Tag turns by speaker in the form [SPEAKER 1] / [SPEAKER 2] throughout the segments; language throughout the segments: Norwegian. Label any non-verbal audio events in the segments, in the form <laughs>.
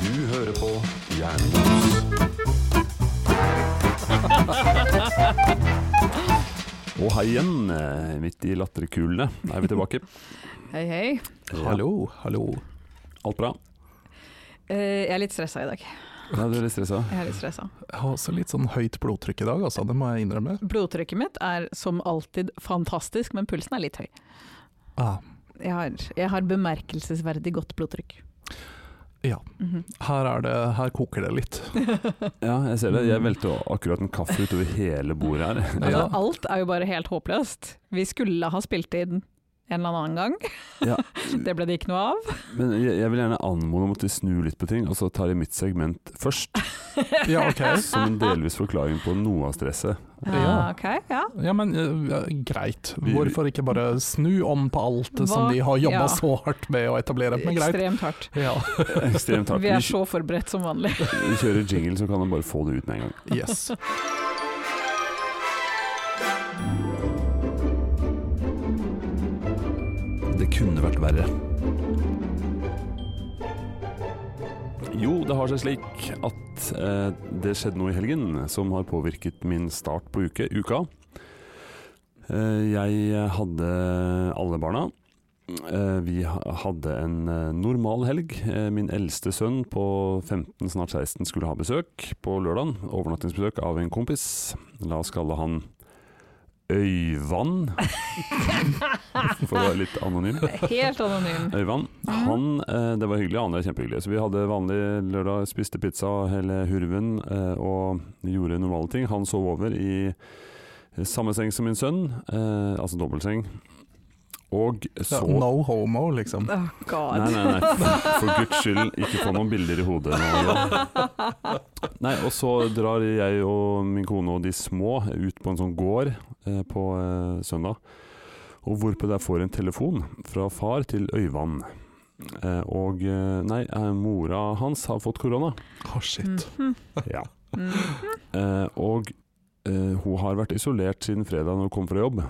[SPEAKER 1] Du hører på Jernbos. Og hei igjen, eh, midt i latterkulene er vi tilbake. <laughs>
[SPEAKER 2] Hei, hei.
[SPEAKER 3] Hallo, hallo.
[SPEAKER 1] Alt bra?
[SPEAKER 2] Eh, jeg er litt stressa i dag.
[SPEAKER 1] Nei, du er litt stressa?
[SPEAKER 2] Jeg er litt stressa.
[SPEAKER 3] Jeg har også litt sånn høyt blodtrykk i dag, altså. Det må jeg innrømme.
[SPEAKER 2] Blodtrykket mitt er som alltid fantastisk, men pulsen er litt høy.
[SPEAKER 3] Ah,
[SPEAKER 2] Jeg har, jeg har bemerkelsesverdig godt blodtrykk.
[SPEAKER 3] ja.
[SPEAKER 2] Mhm.
[SPEAKER 3] Her, er det, her koker det litt.
[SPEAKER 1] Ja, jeg ser det. Jeg velte akkurat en kaffe utover hele bordet her.
[SPEAKER 2] Altså,
[SPEAKER 3] Ja.
[SPEAKER 2] Alt er jo bare helt håpløst. Vi skulle ha spilt inn en eller annen gang.
[SPEAKER 1] Ja.
[SPEAKER 2] <laughs> Det ble det ikke noe av.
[SPEAKER 1] Men jeg, jeg vil gjerne anmode om at de snur litt på ting, og så tar de mitt segment først.
[SPEAKER 3] Ja, ok.
[SPEAKER 1] <laughs> Som en delvis forklaring på noe av stresset.
[SPEAKER 3] Ja.
[SPEAKER 2] Ah, ok, ja.
[SPEAKER 3] Ja, men eh, greit.
[SPEAKER 1] Vi-
[SPEAKER 3] Hvorfor ikke bare snu om på alt det som
[SPEAKER 2] Hva-
[SPEAKER 3] de har jobba
[SPEAKER 2] ja.
[SPEAKER 3] så hardt med å etablere? Men greit.
[SPEAKER 2] Ekstremt hardt.
[SPEAKER 3] Ja,
[SPEAKER 1] Ekstremt hardt.
[SPEAKER 2] Vi er så forberedt som vanlig.
[SPEAKER 3] <laughs>
[SPEAKER 1] Vi kjører jingle, så kan man bare få det ut med en gang.
[SPEAKER 3] yes.
[SPEAKER 1] Det kunne vært verre. Jo, det har seg slik at eh, det skjedde noe i helgen som har påvirket min start på uke, uka. Eh, jeg hadde alle barna. Eh, vi ha- hadde en eh, normal helg. Eh, min eldste sønn på 15, snart 16 skulle ha besøk på lørdag. Overnattingsbesøk av en kompis. La oss kalle han Øyvann, for å være litt anonym.
[SPEAKER 2] Helt anonym.
[SPEAKER 1] Øyvann, han, eh, det var hyggelig, han er kjempehyggelig. Så vi hadde vanlig lørdag, spiste pizza, hele hurven eh, og gjorde normale ting. Han sov over i samme seng som min sønn, eh, altså dobbeltseng. Og
[SPEAKER 3] Ja,
[SPEAKER 1] så
[SPEAKER 3] no homo, liksom.
[SPEAKER 2] Oh,
[SPEAKER 1] Nei,
[SPEAKER 2] God.
[SPEAKER 1] nei, nei. For- For guds skyld, ikke få noen bilder i hodet. Nå. Nei, og så drar jeg og min kone og de små ut på en sånn gård eh, på eh, søndag. Og hvorpå jeg får en telefon fra far til Øyvann. Eh, og eh, nei, eh, mora hans har fått korona.
[SPEAKER 3] Å, shit.
[SPEAKER 2] Mhm.
[SPEAKER 1] Ja.
[SPEAKER 2] Mhm.
[SPEAKER 1] Eh, og eh, hun har vært isolert siden fredag når hun kom fra jobb.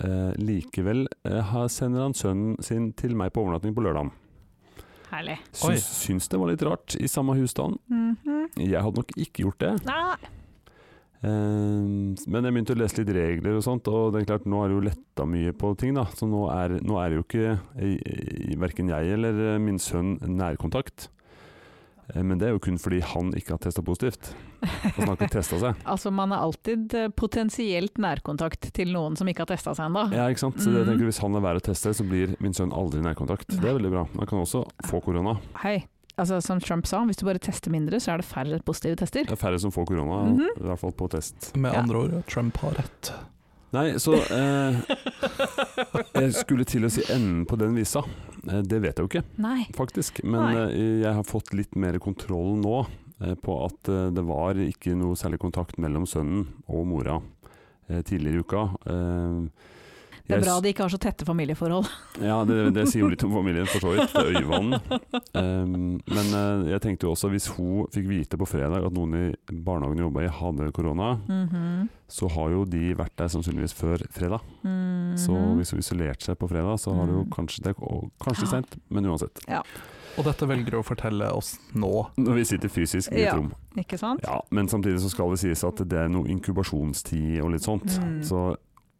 [SPEAKER 1] Eh, likevel eh, har- sender han sønnen sin til meg på overnatting på lørdag.
[SPEAKER 2] Herlig.
[SPEAKER 3] Oi.
[SPEAKER 1] Syns, syns det var litt rart i samme husstand.
[SPEAKER 2] Mhm.
[SPEAKER 1] Jeg hadde nok ikke gjort det.
[SPEAKER 2] Nei.
[SPEAKER 1] Eh, men jeg begynte å lese litt regler og sånt, og det er klart, nå er det jo letta mye på ting, da. Så nå er, nå er jo ikke eh, verken jeg eller eh, min sønn nærkontakt. Eh, Men det er jo kun fordi han ikke har testa positivt. Altså han har ikke testa
[SPEAKER 2] <laughs>
[SPEAKER 1] seg.
[SPEAKER 2] Altså, man er alltid eh, potensielt nærkontakt til noen som ikke har testa seg ennå.
[SPEAKER 1] Ja, ikke sant? Så jeg
[SPEAKER 2] Mhm.
[SPEAKER 1] tenker Hvis han lar være å teste, så blir min sønn aldri nærkontakt. Det er veldig bra. Han kan også få korona.
[SPEAKER 2] Hei. Altså, som Trump sa, hvis du bare tester mindre, så er det færre positive tester.
[SPEAKER 1] Det er færre som får korona,
[SPEAKER 2] Mhm.
[SPEAKER 1] i hvert fall på test.
[SPEAKER 3] Med
[SPEAKER 2] Ja.
[SPEAKER 3] andre ord, Trump har rett.
[SPEAKER 1] Nei, så eh, Jeg skulle til å si enden på den visa. Eh, Det vet jeg jo ikke,
[SPEAKER 2] Nei.
[SPEAKER 1] faktisk. Men
[SPEAKER 2] Nei.
[SPEAKER 1] eh, jeg har fått litt mer kontroll nå eh, på at eh, det var ikke noe særlig kontakt mellom sønnen og mora eh, tidligere i uka. Eh,
[SPEAKER 2] Det
[SPEAKER 1] jeg
[SPEAKER 2] er bra
[SPEAKER 1] s-
[SPEAKER 2] de ikke har så tette familieforhold.
[SPEAKER 1] Ja, det, det sier jo litt om familien, for så vidt. Det er Øyvann.
[SPEAKER 2] <laughs>
[SPEAKER 1] Eh, men eh, jeg tenkte jo også, hvis hun fikk vite på fredag at noen i barnehagen hun jobba i hadde korona,
[SPEAKER 2] Mhm.
[SPEAKER 1] så har jo de vært der sannsynligvis før fredag.
[SPEAKER 2] Mhm.
[SPEAKER 1] Så hvis hun isolerte seg på fredag, så har det jo
[SPEAKER 2] Mm.
[SPEAKER 1] kanskje det og Kanskje
[SPEAKER 2] Ja.
[SPEAKER 1] sent, men uansett.
[SPEAKER 3] Og dette velger du å fortelle oss nå.
[SPEAKER 1] Når vi sitter fysisk i et
[SPEAKER 2] Ja.
[SPEAKER 1] rom.
[SPEAKER 2] Ikke sant?
[SPEAKER 1] Ja, men samtidig så skal det sies at det er noe inkubasjonstid og litt sånt.
[SPEAKER 2] Mm.
[SPEAKER 1] Så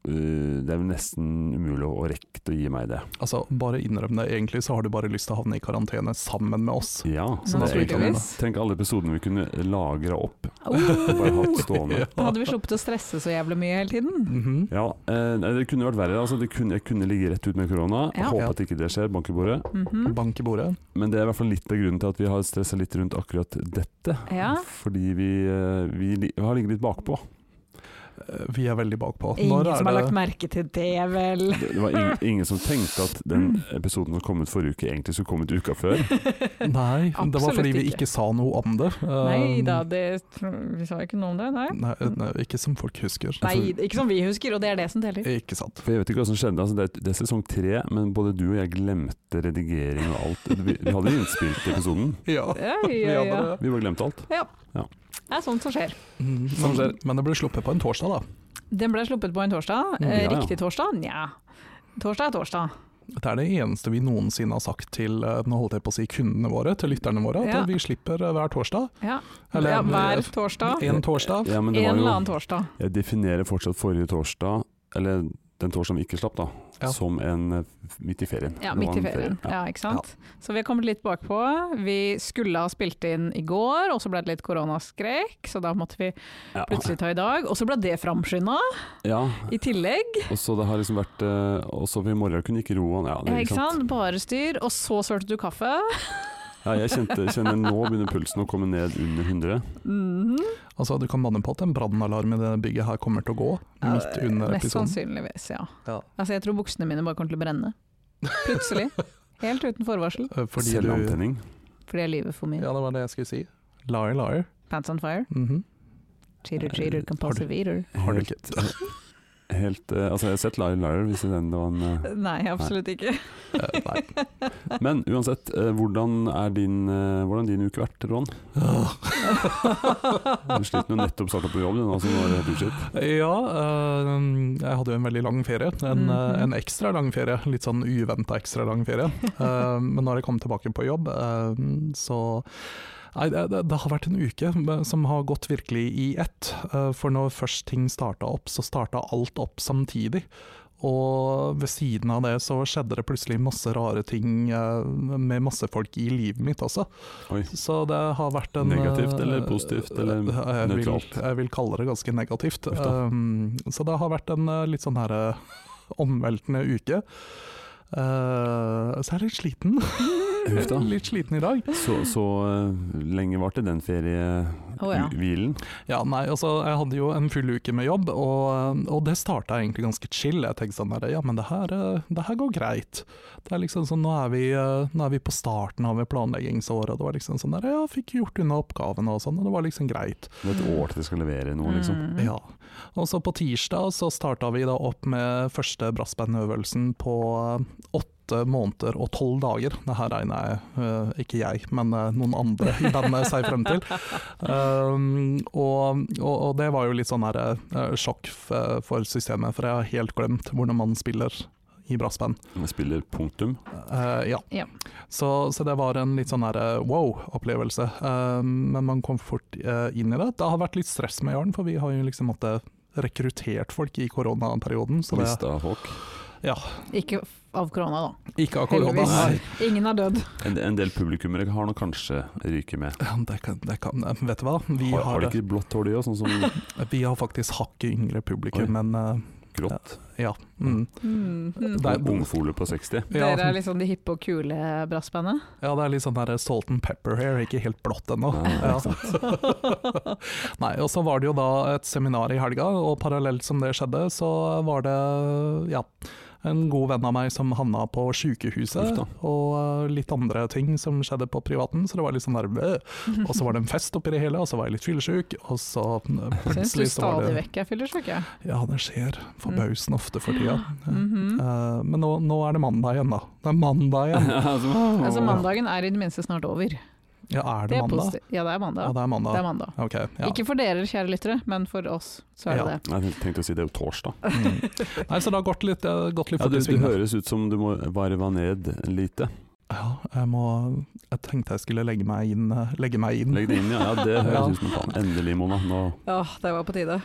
[SPEAKER 1] øh, det er jo nesten umulig å rekke å gi meg det.
[SPEAKER 3] Altså, bare innrøm det. Egentlig så har du bare lyst til å havne i karantene sammen med oss.
[SPEAKER 1] Ja,
[SPEAKER 2] Så
[SPEAKER 1] det er egentlig
[SPEAKER 2] naturligvis.
[SPEAKER 1] Tenk alle episodene vi kunne lagra opp og <laughs> bare
[SPEAKER 2] Oh,
[SPEAKER 1] hatt
[SPEAKER 3] <laughs>
[SPEAKER 1] stående.
[SPEAKER 2] da hadde vi sluppet å stresse så jævlig mye hele tiden.
[SPEAKER 3] Mhm.
[SPEAKER 1] Ja, eh, nei, det kunne vært verre. Altså, det kunne, jeg kunne ligge rett ut med korona.
[SPEAKER 2] Ja.
[SPEAKER 1] Håpe at ikke det skjer, bank i bordet.
[SPEAKER 2] Mhm.
[SPEAKER 3] Bank i bordet.
[SPEAKER 1] Men det er i hvert fall litt av grunnen til at vi har stressa litt rundt akkurat dette.
[SPEAKER 2] Ja.
[SPEAKER 1] Fordi vi, eh, vi li- har ligget litt bakpå.
[SPEAKER 3] Eh, Vi er veldig bakpå.
[SPEAKER 2] Ingen som har
[SPEAKER 3] det-
[SPEAKER 2] lagt merke til det,
[SPEAKER 1] <laughs>
[SPEAKER 2] vel?
[SPEAKER 1] Det, det var ing, ingen som tenkte at den
[SPEAKER 2] Mm.
[SPEAKER 1] episoden som kom ut forrige uke, egentlig skulle komme ut uka før.
[SPEAKER 2] <laughs>
[SPEAKER 3] Nei, det var
[SPEAKER 2] Absolutt
[SPEAKER 3] fordi vi
[SPEAKER 2] ikke.
[SPEAKER 3] ikke sa noe om det.
[SPEAKER 2] Nei
[SPEAKER 3] Eh,
[SPEAKER 2] da,
[SPEAKER 1] Um,
[SPEAKER 2] det, vi sa ikke noe om det. Nei.
[SPEAKER 3] Nei, nei, ikke som folk husker.
[SPEAKER 2] nei, ikke som vi husker, og det er det som teller.
[SPEAKER 3] Ikke sant.
[SPEAKER 1] For jeg vet ikke hva som skjedde. Altså, det, er, det er sesong tre, men både du og jeg glemte redigering og alt. Vi, vi hadde jo innspilt episoden.
[SPEAKER 3] Ja.
[SPEAKER 2] Ja,
[SPEAKER 3] Vi
[SPEAKER 2] ja, ja.
[SPEAKER 3] hadde det.
[SPEAKER 1] Vi bare glemte alt.
[SPEAKER 2] Det er sånt som skjer.
[SPEAKER 3] Mm,
[SPEAKER 1] Sånn
[SPEAKER 3] Men,
[SPEAKER 1] skjer.
[SPEAKER 3] men det ble sluppet på en torsdag, da.
[SPEAKER 2] Den ble sluppet på en torsdag.
[SPEAKER 3] Mm.
[SPEAKER 1] Ja,
[SPEAKER 2] Eh,
[SPEAKER 1] ja.
[SPEAKER 2] Riktig torsdag? Nja. Torsdag er torsdag.
[SPEAKER 3] Dette er det eneste vi noensinne har sagt til eh, nå holdt jeg på å si kundene våre, til lytterne våre, at
[SPEAKER 2] Ja.
[SPEAKER 3] eh, vi slipper eh, hver torsdag.
[SPEAKER 2] Ja,
[SPEAKER 3] Eller
[SPEAKER 2] ja Hver
[SPEAKER 3] eh,
[SPEAKER 2] torsdag.
[SPEAKER 3] en torsdag.
[SPEAKER 1] Ja, men
[SPEAKER 2] En
[SPEAKER 1] det var
[SPEAKER 2] eller annen
[SPEAKER 1] jo,
[SPEAKER 2] torsdag.
[SPEAKER 1] jeg definerer fortsatt forrige torsdag, eller den torsdagen vi ikke slapp, da,
[SPEAKER 3] Ja.
[SPEAKER 1] som en eh, midt i ferien.
[SPEAKER 2] Ja,
[SPEAKER 1] Det
[SPEAKER 2] midt
[SPEAKER 1] var
[SPEAKER 2] i
[SPEAKER 1] en
[SPEAKER 2] ferien.
[SPEAKER 1] ferie.
[SPEAKER 2] Ja, ikke sant? Så vi har kommet litt bakpå. Vi skulle ha spilt inn i går, og så ble det litt koronaskrekk, så da måtte vi
[SPEAKER 1] Ja.
[SPEAKER 2] plutselig ta i dag. Og så ble det framskynda
[SPEAKER 1] Ja,
[SPEAKER 2] i tillegg,
[SPEAKER 1] og så det har liksom vært eh, Og så i morgen kunne ikke roe han. Ja, det,
[SPEAKER 2] ikke sant? Bare styr. Og så sølte du kaffe.
[SPEAKER 1] Ja, jeg kjente, kjenner nå begynner pulsen å komme ned under 100.
[SPEAKER 2] Mhm.
[SPEAKER 3] Altså, du kan banne på at en brannalarm i det bygget her kommer til å gå midt
[SPEAKER 2] Ja,
[SPEAKER 3] under
[SPEAKER 2] Mest
[SPEAKER 3] episoden.
[SPEAKER 2] sannsynligvis, ja.
[SPEAKER 3] Ja.
[SPEAKER 2] Altså, jeg tror buksene mine bare kommer til å brenne. Plutselig.
[SPEAKER 3] <laughs>
[SPEAKER 2] Helt uten forvarsel.
[SPEAKER 3] Eh, Fordi du
[SPEAKER 1] Selvantenning.
[SPEAKER 2] Fordi jeg lyver for mye.
[SPEAKER 3] Ja, det var det jeg skulle si. Liar, liar.
[SPEAKER 2] Pants on fire.
[SPEAKER 3] Mhm.
[SPEAKER 2] Cheater, cheater, compulsive eater.
[SPEAKER 3] Har du
[SPEAKER 1] Helt, helt eh, Altså, jeg har sett Liar Liar, hvis den var en eh,
[SPEAKER 2] Nei, absolutt ikke.
[SPEAKER 3] Eh, nei.
[SPEAKER 1] Men uansett, eh, hvordan er din, eh, hvordan har din uke vært, Roan?
[SPEAKER 3] Åh.
[SPEAKER 1] Du sliter jo nettopp starta på jobb, du nå, så nå er det helt utslitt.
[SPEAKER 3] Ja, eh, jeg hadde jo en veldig lang ferie. En,
[SPEAKER 2] Mhm.
[SPEAKER 3] eh, en ekstra lang ferie. Litt sånn uventa ekstra lang ferie. Eh, men nå har jeg kommet tilbake på jobb, eh, så Nei, det, det, det har vært en uke som har gått virkelig i ett. Eh, for når først ting starta opp, så starta alt opp samtidig. Og ved siden av det så skjedde det plutselig masse rare ting eh, med masse folk i livet mitt også.
[SPEAKER 1] Oi.
[SPEAKER 3] Så det har vært en
[SPEAKER 1] Negativt
[SPEAKER 3] eh,
[SPEAKER 1] eller positivt, eller
[SPEAKER 3] eh, jeg vil,
[SPEAKER 1] nøytralt?
[SPEAKER 3] jeg vil kalle det ganske negativt.
[SPEAKER 1] Uff da.
[SPEAKER 3] Um, så det har vært en eh, litt sånn her eh, omveltende uke. Eh, så jeg er litt sliten.
[SPEAKER 1] Huff da.
[SPEAKER 3] <laughs> litt sliten i dag.
[SPEAKER 1] Så, så eh, lenge varte den feriehvilen?
[SPEAKER 2] Å ja.
[SPEAKER 3] Ja, nei, altså, jeg hadde jo en full uke med jobb, og, eh, og det starta egentlig ganske chill. Jeg tenkte sånn her, ja, men det her, eh, det her går greit. Det er liksom sånn, nå er vi, eh, nå er vi på starten av planleggingsåret, og det var liksom sånn der, ja, fikk gjort unna oppgavene og sånn, og det var liksom greit.
[SPEAKER 1] Det er et år til de skal levere noe, liksom.
[SPEAKER 2] Mm.
[SPEAKER 3] Ja. Og så på tirsdag så starta vi da opp med første brassbandøvelsen på eh, åtte måneder og tolv dager. Det her regner jeg, eh, ikke jeg, men eh, noen andre i bandet seg frem til. Um, og, og, og det var jo litt sånn her, eh, sjokk f- for systemet, for jeg har helt glemt hvordan man spiller i brassband.
[SPEAKER 1] Jeg Spiller punktum.
[SPEAKER 3] Eh, ja.
[SPEAKER 2] Ja.
[SPEAKER 3] Så, så det var en litt sånn her, eh, wow-opplevelse. Eh, men man kom fort eh, inn i det. Det har vært litt stress med Jarn, for vi har jo liksom måttet rekruttert folk i koronaperioden. Så det
[SPEAKER 1] Lista av folk.
[SPEAKER 2] Ikke f- av korona, da.
[SPEAKER 3] ikke av korona.
[SPEAKER 2] Heldigvis.
[SPEAKER 3] Nei.
[SPEAKER 2] Ingen er dødd.
[SPEAKER 1] En, en del publikummere har nå kanskje ryket med.
[SPEAKER 3] Ja, Det kan, det kan, eh, vet du hva, vi
[SPEAKER 1] Har, har
[SPEAKER 3] har,
[SPEAKER 1] de ikke blått hår, de òg, sånn som
[SPEAKER 3] vi har faktisk hakket yngre
[SPEAKER 1] Oi.
[SPEAKER 3] publikum, men eh,
[SPEAKER 1] grått?
[SPEAKER 3] ja. Mm.
[SPEAKER 2] Mm. Mm.
[SPEAKER 3] Det er-
[SPEAKER 1] Ungfole på 60.
[SPEAKER 3] Ja,
[SPEAKER 2] Dere er liksom de hippe og kule brassbandet?
[SPEAKER 3] ja, det er litt sånn her salt and pepper her, ikke helt blått ennå.
[SPEAKER 1] Ja,
[SPEAKER 3] Ja. <laughs> Nei, og så var det jo da et seminar i helga, og parallelt som det skjedde, så var det ja, en god venn av meg som havna på
[SPEAKER 1] Uff
[SPEAKER 3] sjukehuset,
[SPEAKER 1] da.
[SPEAKER 3] og eh, litt andre ting som skjedde på privaten, så det var litt sånn der «Bøh». Og så var det en fest oppi det hele, og så var jeg litt fyllesyk, og så eh,
[SPEAKER 2] Syns du
[SPEAKER 3] plutselig så var
[SPEAKER 2] stadig
[SPEAKER 3] det
[SPEAKER 2] vekk jeg fyller syk, jeg.
[SPEAKER 3] Ja, det skjer forbausende ofte for tida.
[SPEAKER 2] Mhm.
[SPEAKER 3] Eh, Men nå, nå er det mandag igjen, da. Det er mandag
[SPEAKER 2] <laughs>
[SPEAKER 3] igjen.
[SPEAKER 1] <laughs> altså-
[SPEAKER 2] Altså, mandagen er i det minste snart over.
[SPEAKER 3] Ja, er
[SPEAKER 2] Det
[SPEAKER 3] det
[SPEAKER 2] er
[SPEAKER 3] mandag?
[SPEAKER 2] positivt. Ja, det er
[SPEAKER 3] Ja,
[SPEAKER 2] mandag.
[SPEAKER 3] det er
[SPEAKER 2] Det er
[SPEAKER 3] mandag.
[SPEAKER 2] mandag.
[SPEAKER 3] Ok, ja.
[SPEAKER 2] Ikke for dere, kjære lyttere, men for oss, så er det
[SPEAKER 3] Ja.
[SPEAKER 2] det.
[SPEAKER 1] Jeg tenkte å si det er jo torsdag.
[SPEAKER 3] Mm. Nei, så det har gått litt, det har gått litt
[SPEAKER 1] Ja,
[SPEAKER 3] fort
[SPEAKER 1] du,
[SPEAKER 3] i
[SPEAKER 1] du
[SPEAKER 3] svingene.
[SPEAKER 1] høres ut som du må varve ned lite.
[SPEAKER 3] Ja, jeg må Jeg tenkte jeg skulle legge meg inn. eh, Legge meg inn.
[SPEAKER 1] Legg det inn, ja. ja det høres
[SPEAKER 3] Ja.
[SPEAKER 1] ut som faen. Endelig, Mona. Nå.
[SPEAKER 2] Åh, det var på tide.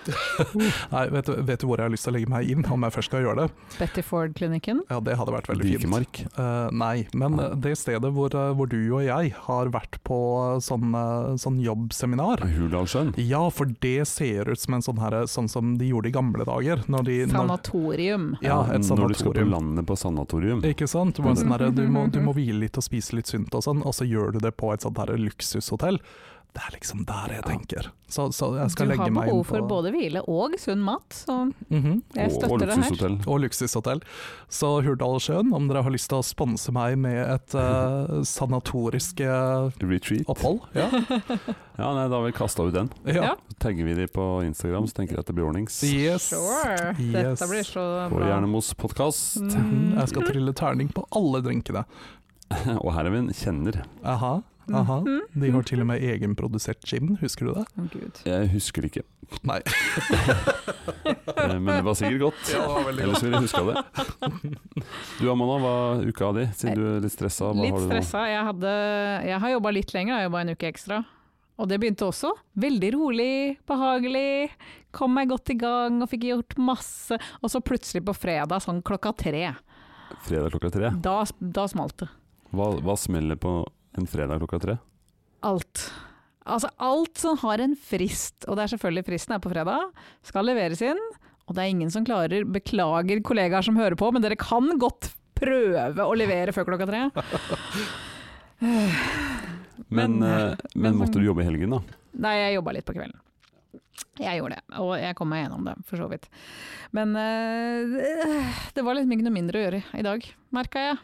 [SPEAKER 3] Nei, vet, du- vet du hvor jeg har lyst til å legge meg inn, om jeg først skal gjøre det?
[SPEAKER 2] Betty Ford-klinikken.
[SPEAKER 3] Ja, det hadde vært veldig fint.
[SPEAKER 1] Dikemark.
[SPEAKER 3] Eh, nei, men eh, det stedet hvor, eh, hvor du og jeg har vært på eh, sånn, eh, sånn jobbseminar
[SPEAKER 1] Hurdalssjøen.
[SPEAKER 3] Ja, for det ser ut som en sånn her, eh, sånn som de gjorde i gamle dager. Når de, når,
[SPEAKER 2] Sanatorium.
[SPEAKER 3] ja, et
[SPEAKER 1] Når du skal på
[SPEAKER 3] sanatorium.
[SPEAKER 1] landet på sanatorium.
[SPEAKER 3] Ikke sant? Det var Sånn her, du, må, du
[SPEAKER 2] Mm-hmm.
[SPEAKER 3] må hvile litt og spise litt sunt, og sånn, og så gjør du det på et sånt her luksushotell. Det er liksom der jeg
[SPEAKER 1] Ja.
[SPEAKER 3] tenker. Så, så jeg skal
[SPEAKER 2] Du
[SPEAKER 3] legge
[SPEAKER 2] har
[SPEAKER 3] meg inn på
[SPEAKER 2] behov for både hvile og sunn mat, så
[SPEAKER 3] Mhm.
[SPEAKER 1] Og-
[SPEAKER 2] jeg støtter
[SPEAKER 1] og
[SPEAKER 2] det her.
[SPEAKER 1] luksushotell.
[SPEAKER 3] og luksushotell. Så Hurdalssjøen, om dere har lyst til å sponse meg med et eh, sanatorisk eh,
[SPEAKER 1] Retreat.
[SPEAKER 3] opphold ja.
[SPEAKER 1] Ja, nei, da har vi kasta ut den.
[SPEAKER 3] Ja.
[SPEAKER 2] <laughs> Ja.
[SPEAKER 1] Så tagger vi de på Instagram, så tenker jeg at det blir ordnings.
[SPEAKER 3] Yes.
[SPEAKER 2] Sure.
[SPEAKER 3] Yes. Mhm.
[SPEAKER 2] Dette blir så
[SPEAKER 1] På
[SPEAKER 2] bra.
[SPEAKER 1] Jernemos podkast. <laughs>
[SPEAKER 2] Mm.
[SPEAKER 3] Jeg skal trille terning på alle drinkene.
[SPEAKER 1] Og her er vi en kjenner.
[SPEAKER 3] Aha. Aha.
[SPEAKER 2] Mhm.
[SPEAKER 3] De har til og med egenprodusert gin, husker du det?
[SPEAKER 2] Å, Gud.
[SPEAKER 1] Jeg husker det ikke,
[SPEAKER 3] Nei.
[SPEAKER 1] <laughs> eh, men det var sikkert godt.
[SPEAKER 3] Ja, det var veldig
[SPEAKER 1] Ellers ville jeg huska
[SPEAKER 3] <laughs>
[SPEAKER 1] det. Du Amanda, hva er uka di? Siden du er litt stressa. Hva
[SPEAKER 2] Eh, Litt
[SPEAKER 1] har du nå?
[SPEAKER 2] stressa. Jeg, hadde, jeg har jobba litt lenger, jeg har jobba en uke ekstra. Og det begynte også. Veldig rolig, behagelig. Kom meg godt i gang og fikk gjort masse. Og så plutselig på fredag sånn klokka tre.
[SPEAKER 1] Fredag klokka tre.
[SPEAKER 2] Da, da smalt det.
[SPEAKER 1] Hva, hva smeller på en fredag klokka tre?
[SPEAKER 2] Alt. Altså alt som har en frist, og det er selvfølgelig fristen er på fredag, skal leveres inn. Og det er ingen som klarer, beklager kollegaer som hører på, men dere kan godt prøve å levere før klokka tre.
[SPEAKER 1] Men,
[SPEAKER 2] Men-
[SPEAKER 1] eh, men
[SPEAKER 2] men-
[SPEAKER 1] måtte du jobbe i helgen, da?
[SPEAKER 2] Nei, jeg jobba litt på kvelden. Jeg gjorde det, og jeg kom meg gjennom det, for så vidt. Men eh, det var liksom ikke noe mindre å gjøre i dag, merka jeg.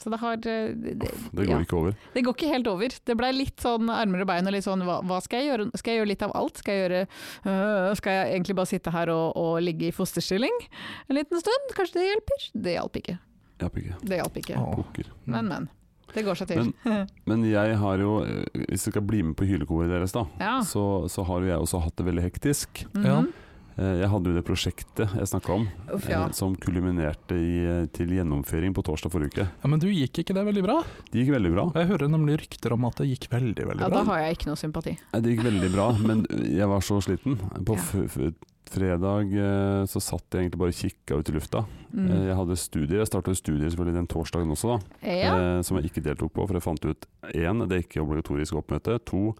[SPEAKER 2] Så det har eh, det,
[SPEAKER 1] Det går
[SPEAKER 2] ja.
[SPEAKER 1] ikke over.
[SPEAKER 2] det går ikke helt over. Det blei litt sånn armer og bein og litt sånn hva, hva skal jeg gjøre? Skal jeg gjøre litt av alt? Skal jeg, gjøre, øh, skal jeg egentlig bare sitte her og, og ligge i fosterstilling en liten stund? Kanskje det hjelper? Det hjalp ikke.
[SPEAKER 1] Jeg har ikke
[SPEAKER 2] Det hjalp ikke.
[SPEAKER 3] Åh.
[SPEAKER 1] poker.
[SPEAKER 2] Men, men. Det går seg til.
[SPEAKER 1] Men jeg har jo, eh, hvis jeg skal bli med på hylekoret deres, da,
[SPEAKER 2] ja.
[SPEAKER 1] så, så har jo jeg også hatt det veldig hektisk.
[SPEAKER 2] Mhm.
[SPEAKER 3] ja.
[SPEAKER 1] Eh, Jeg hadde jo det prosjektet jeg snakka om,
[SPEAKER 2] Uff, ja.
[SPEAKER 1] eh, som kulminerte i, eh, til gjennomføring på torsdag forrige uke.
[SPEAKER 3] Ja, men du gikk ikke det veldig bra?
[SPEAKER 1] Det gikk veldig bra.
[SPEAKER 3] Jeg hører nemlig rykter om at det gikk veldig, veldig
[SPEAKER 2] ja. Da
[SPEAKER 3] bra.
[SPEAKER 2] har jeg ikke noe sympati.
[SPEAKER 1] Nei, Det gikk veldig bra, men jeg var så sliten. På
[SPEAKER 2] Ja.
[SPEAKER 1] f f fredag eh, så satt jeg egentlig bare og kikka ut i lufta.
[SPEAKER 2] Mm.
[SPEAKER 1] Eh, Jeg hadde studier, jeg starta studier selvfølgelig den torsdagen også, da,
[SPEAKER 2] Ja.
[SPEAKER 1] eh, som jeg ikke deltok på. For jeg fant ut én, det er ikke obligatorisk oppmøte. To,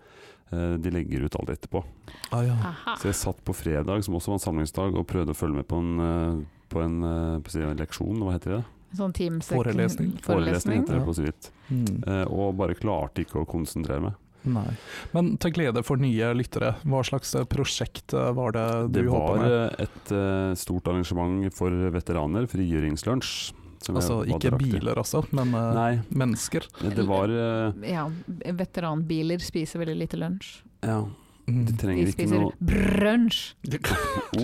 [SPEAKER 1] eh, de legger ut alt etterpå.
[SPEAKER 3] Ah,
[SPEAKER 1] eh,
[SPEAKER 3] ja.
[SPEAKER 2] Aha.
[SPEAKER 1] Så jeg satt på fredag, som også var en samlingsdag, og prøvde å følge med på en, eh, på en, eh, på å si en leksjon, hva heter det?
[SPEAKER 2] Sånn teams
[SPEAKER 3] Forelesning.
[SPEAKER 1] Forelesning
[SPEAKER 2] Forelesning.
[SPEAKER 1] heter det
[SPEAKER 3] Ja.
[SPEAKER 1] på så vidt.
[SPEAKER 3] Mm.
[SPEAKER 1] Eh, Og bare klarte ikke å konsentrere meg.
[SPEAKER 3] Nei. Men til glede for nye lyttere, hva slags eh, prosjekt eh, var det du
[SPEAKER 1] Det
[SPEAKER 3] holdt på
[SPEAKER 1] var
[SPEAKER 3] med?
[SPEAKER 1] eh, et eh, stort arrangement for veteraner, frigjøringslunsj. som jeg
[SPEAKER 3] Altså
[SPEAKER 1] var
[SPEAKER 3] ikke
[SPEAKER 1] delaktig i.
[SPEAKER 3] biler, altså, men eh,
[SPEAKER 1] Nei,
[SPEAKER 3] mennesker.
[SPEAKER 1] det var eh,
[SPEAKER 2] Ja, veteranbiler spiser veldig lite lunsj.
[SPEAKER 1] Ja,
[SPEAKER 3] Mm.
[SPEAKER 1] de
[SPEAKER 2] De
[SPEAKER 1] trenger ikke
[SPEAKER 2] spiser
[SPEAKER 1] noe
[SPEAKER 2] brunsj!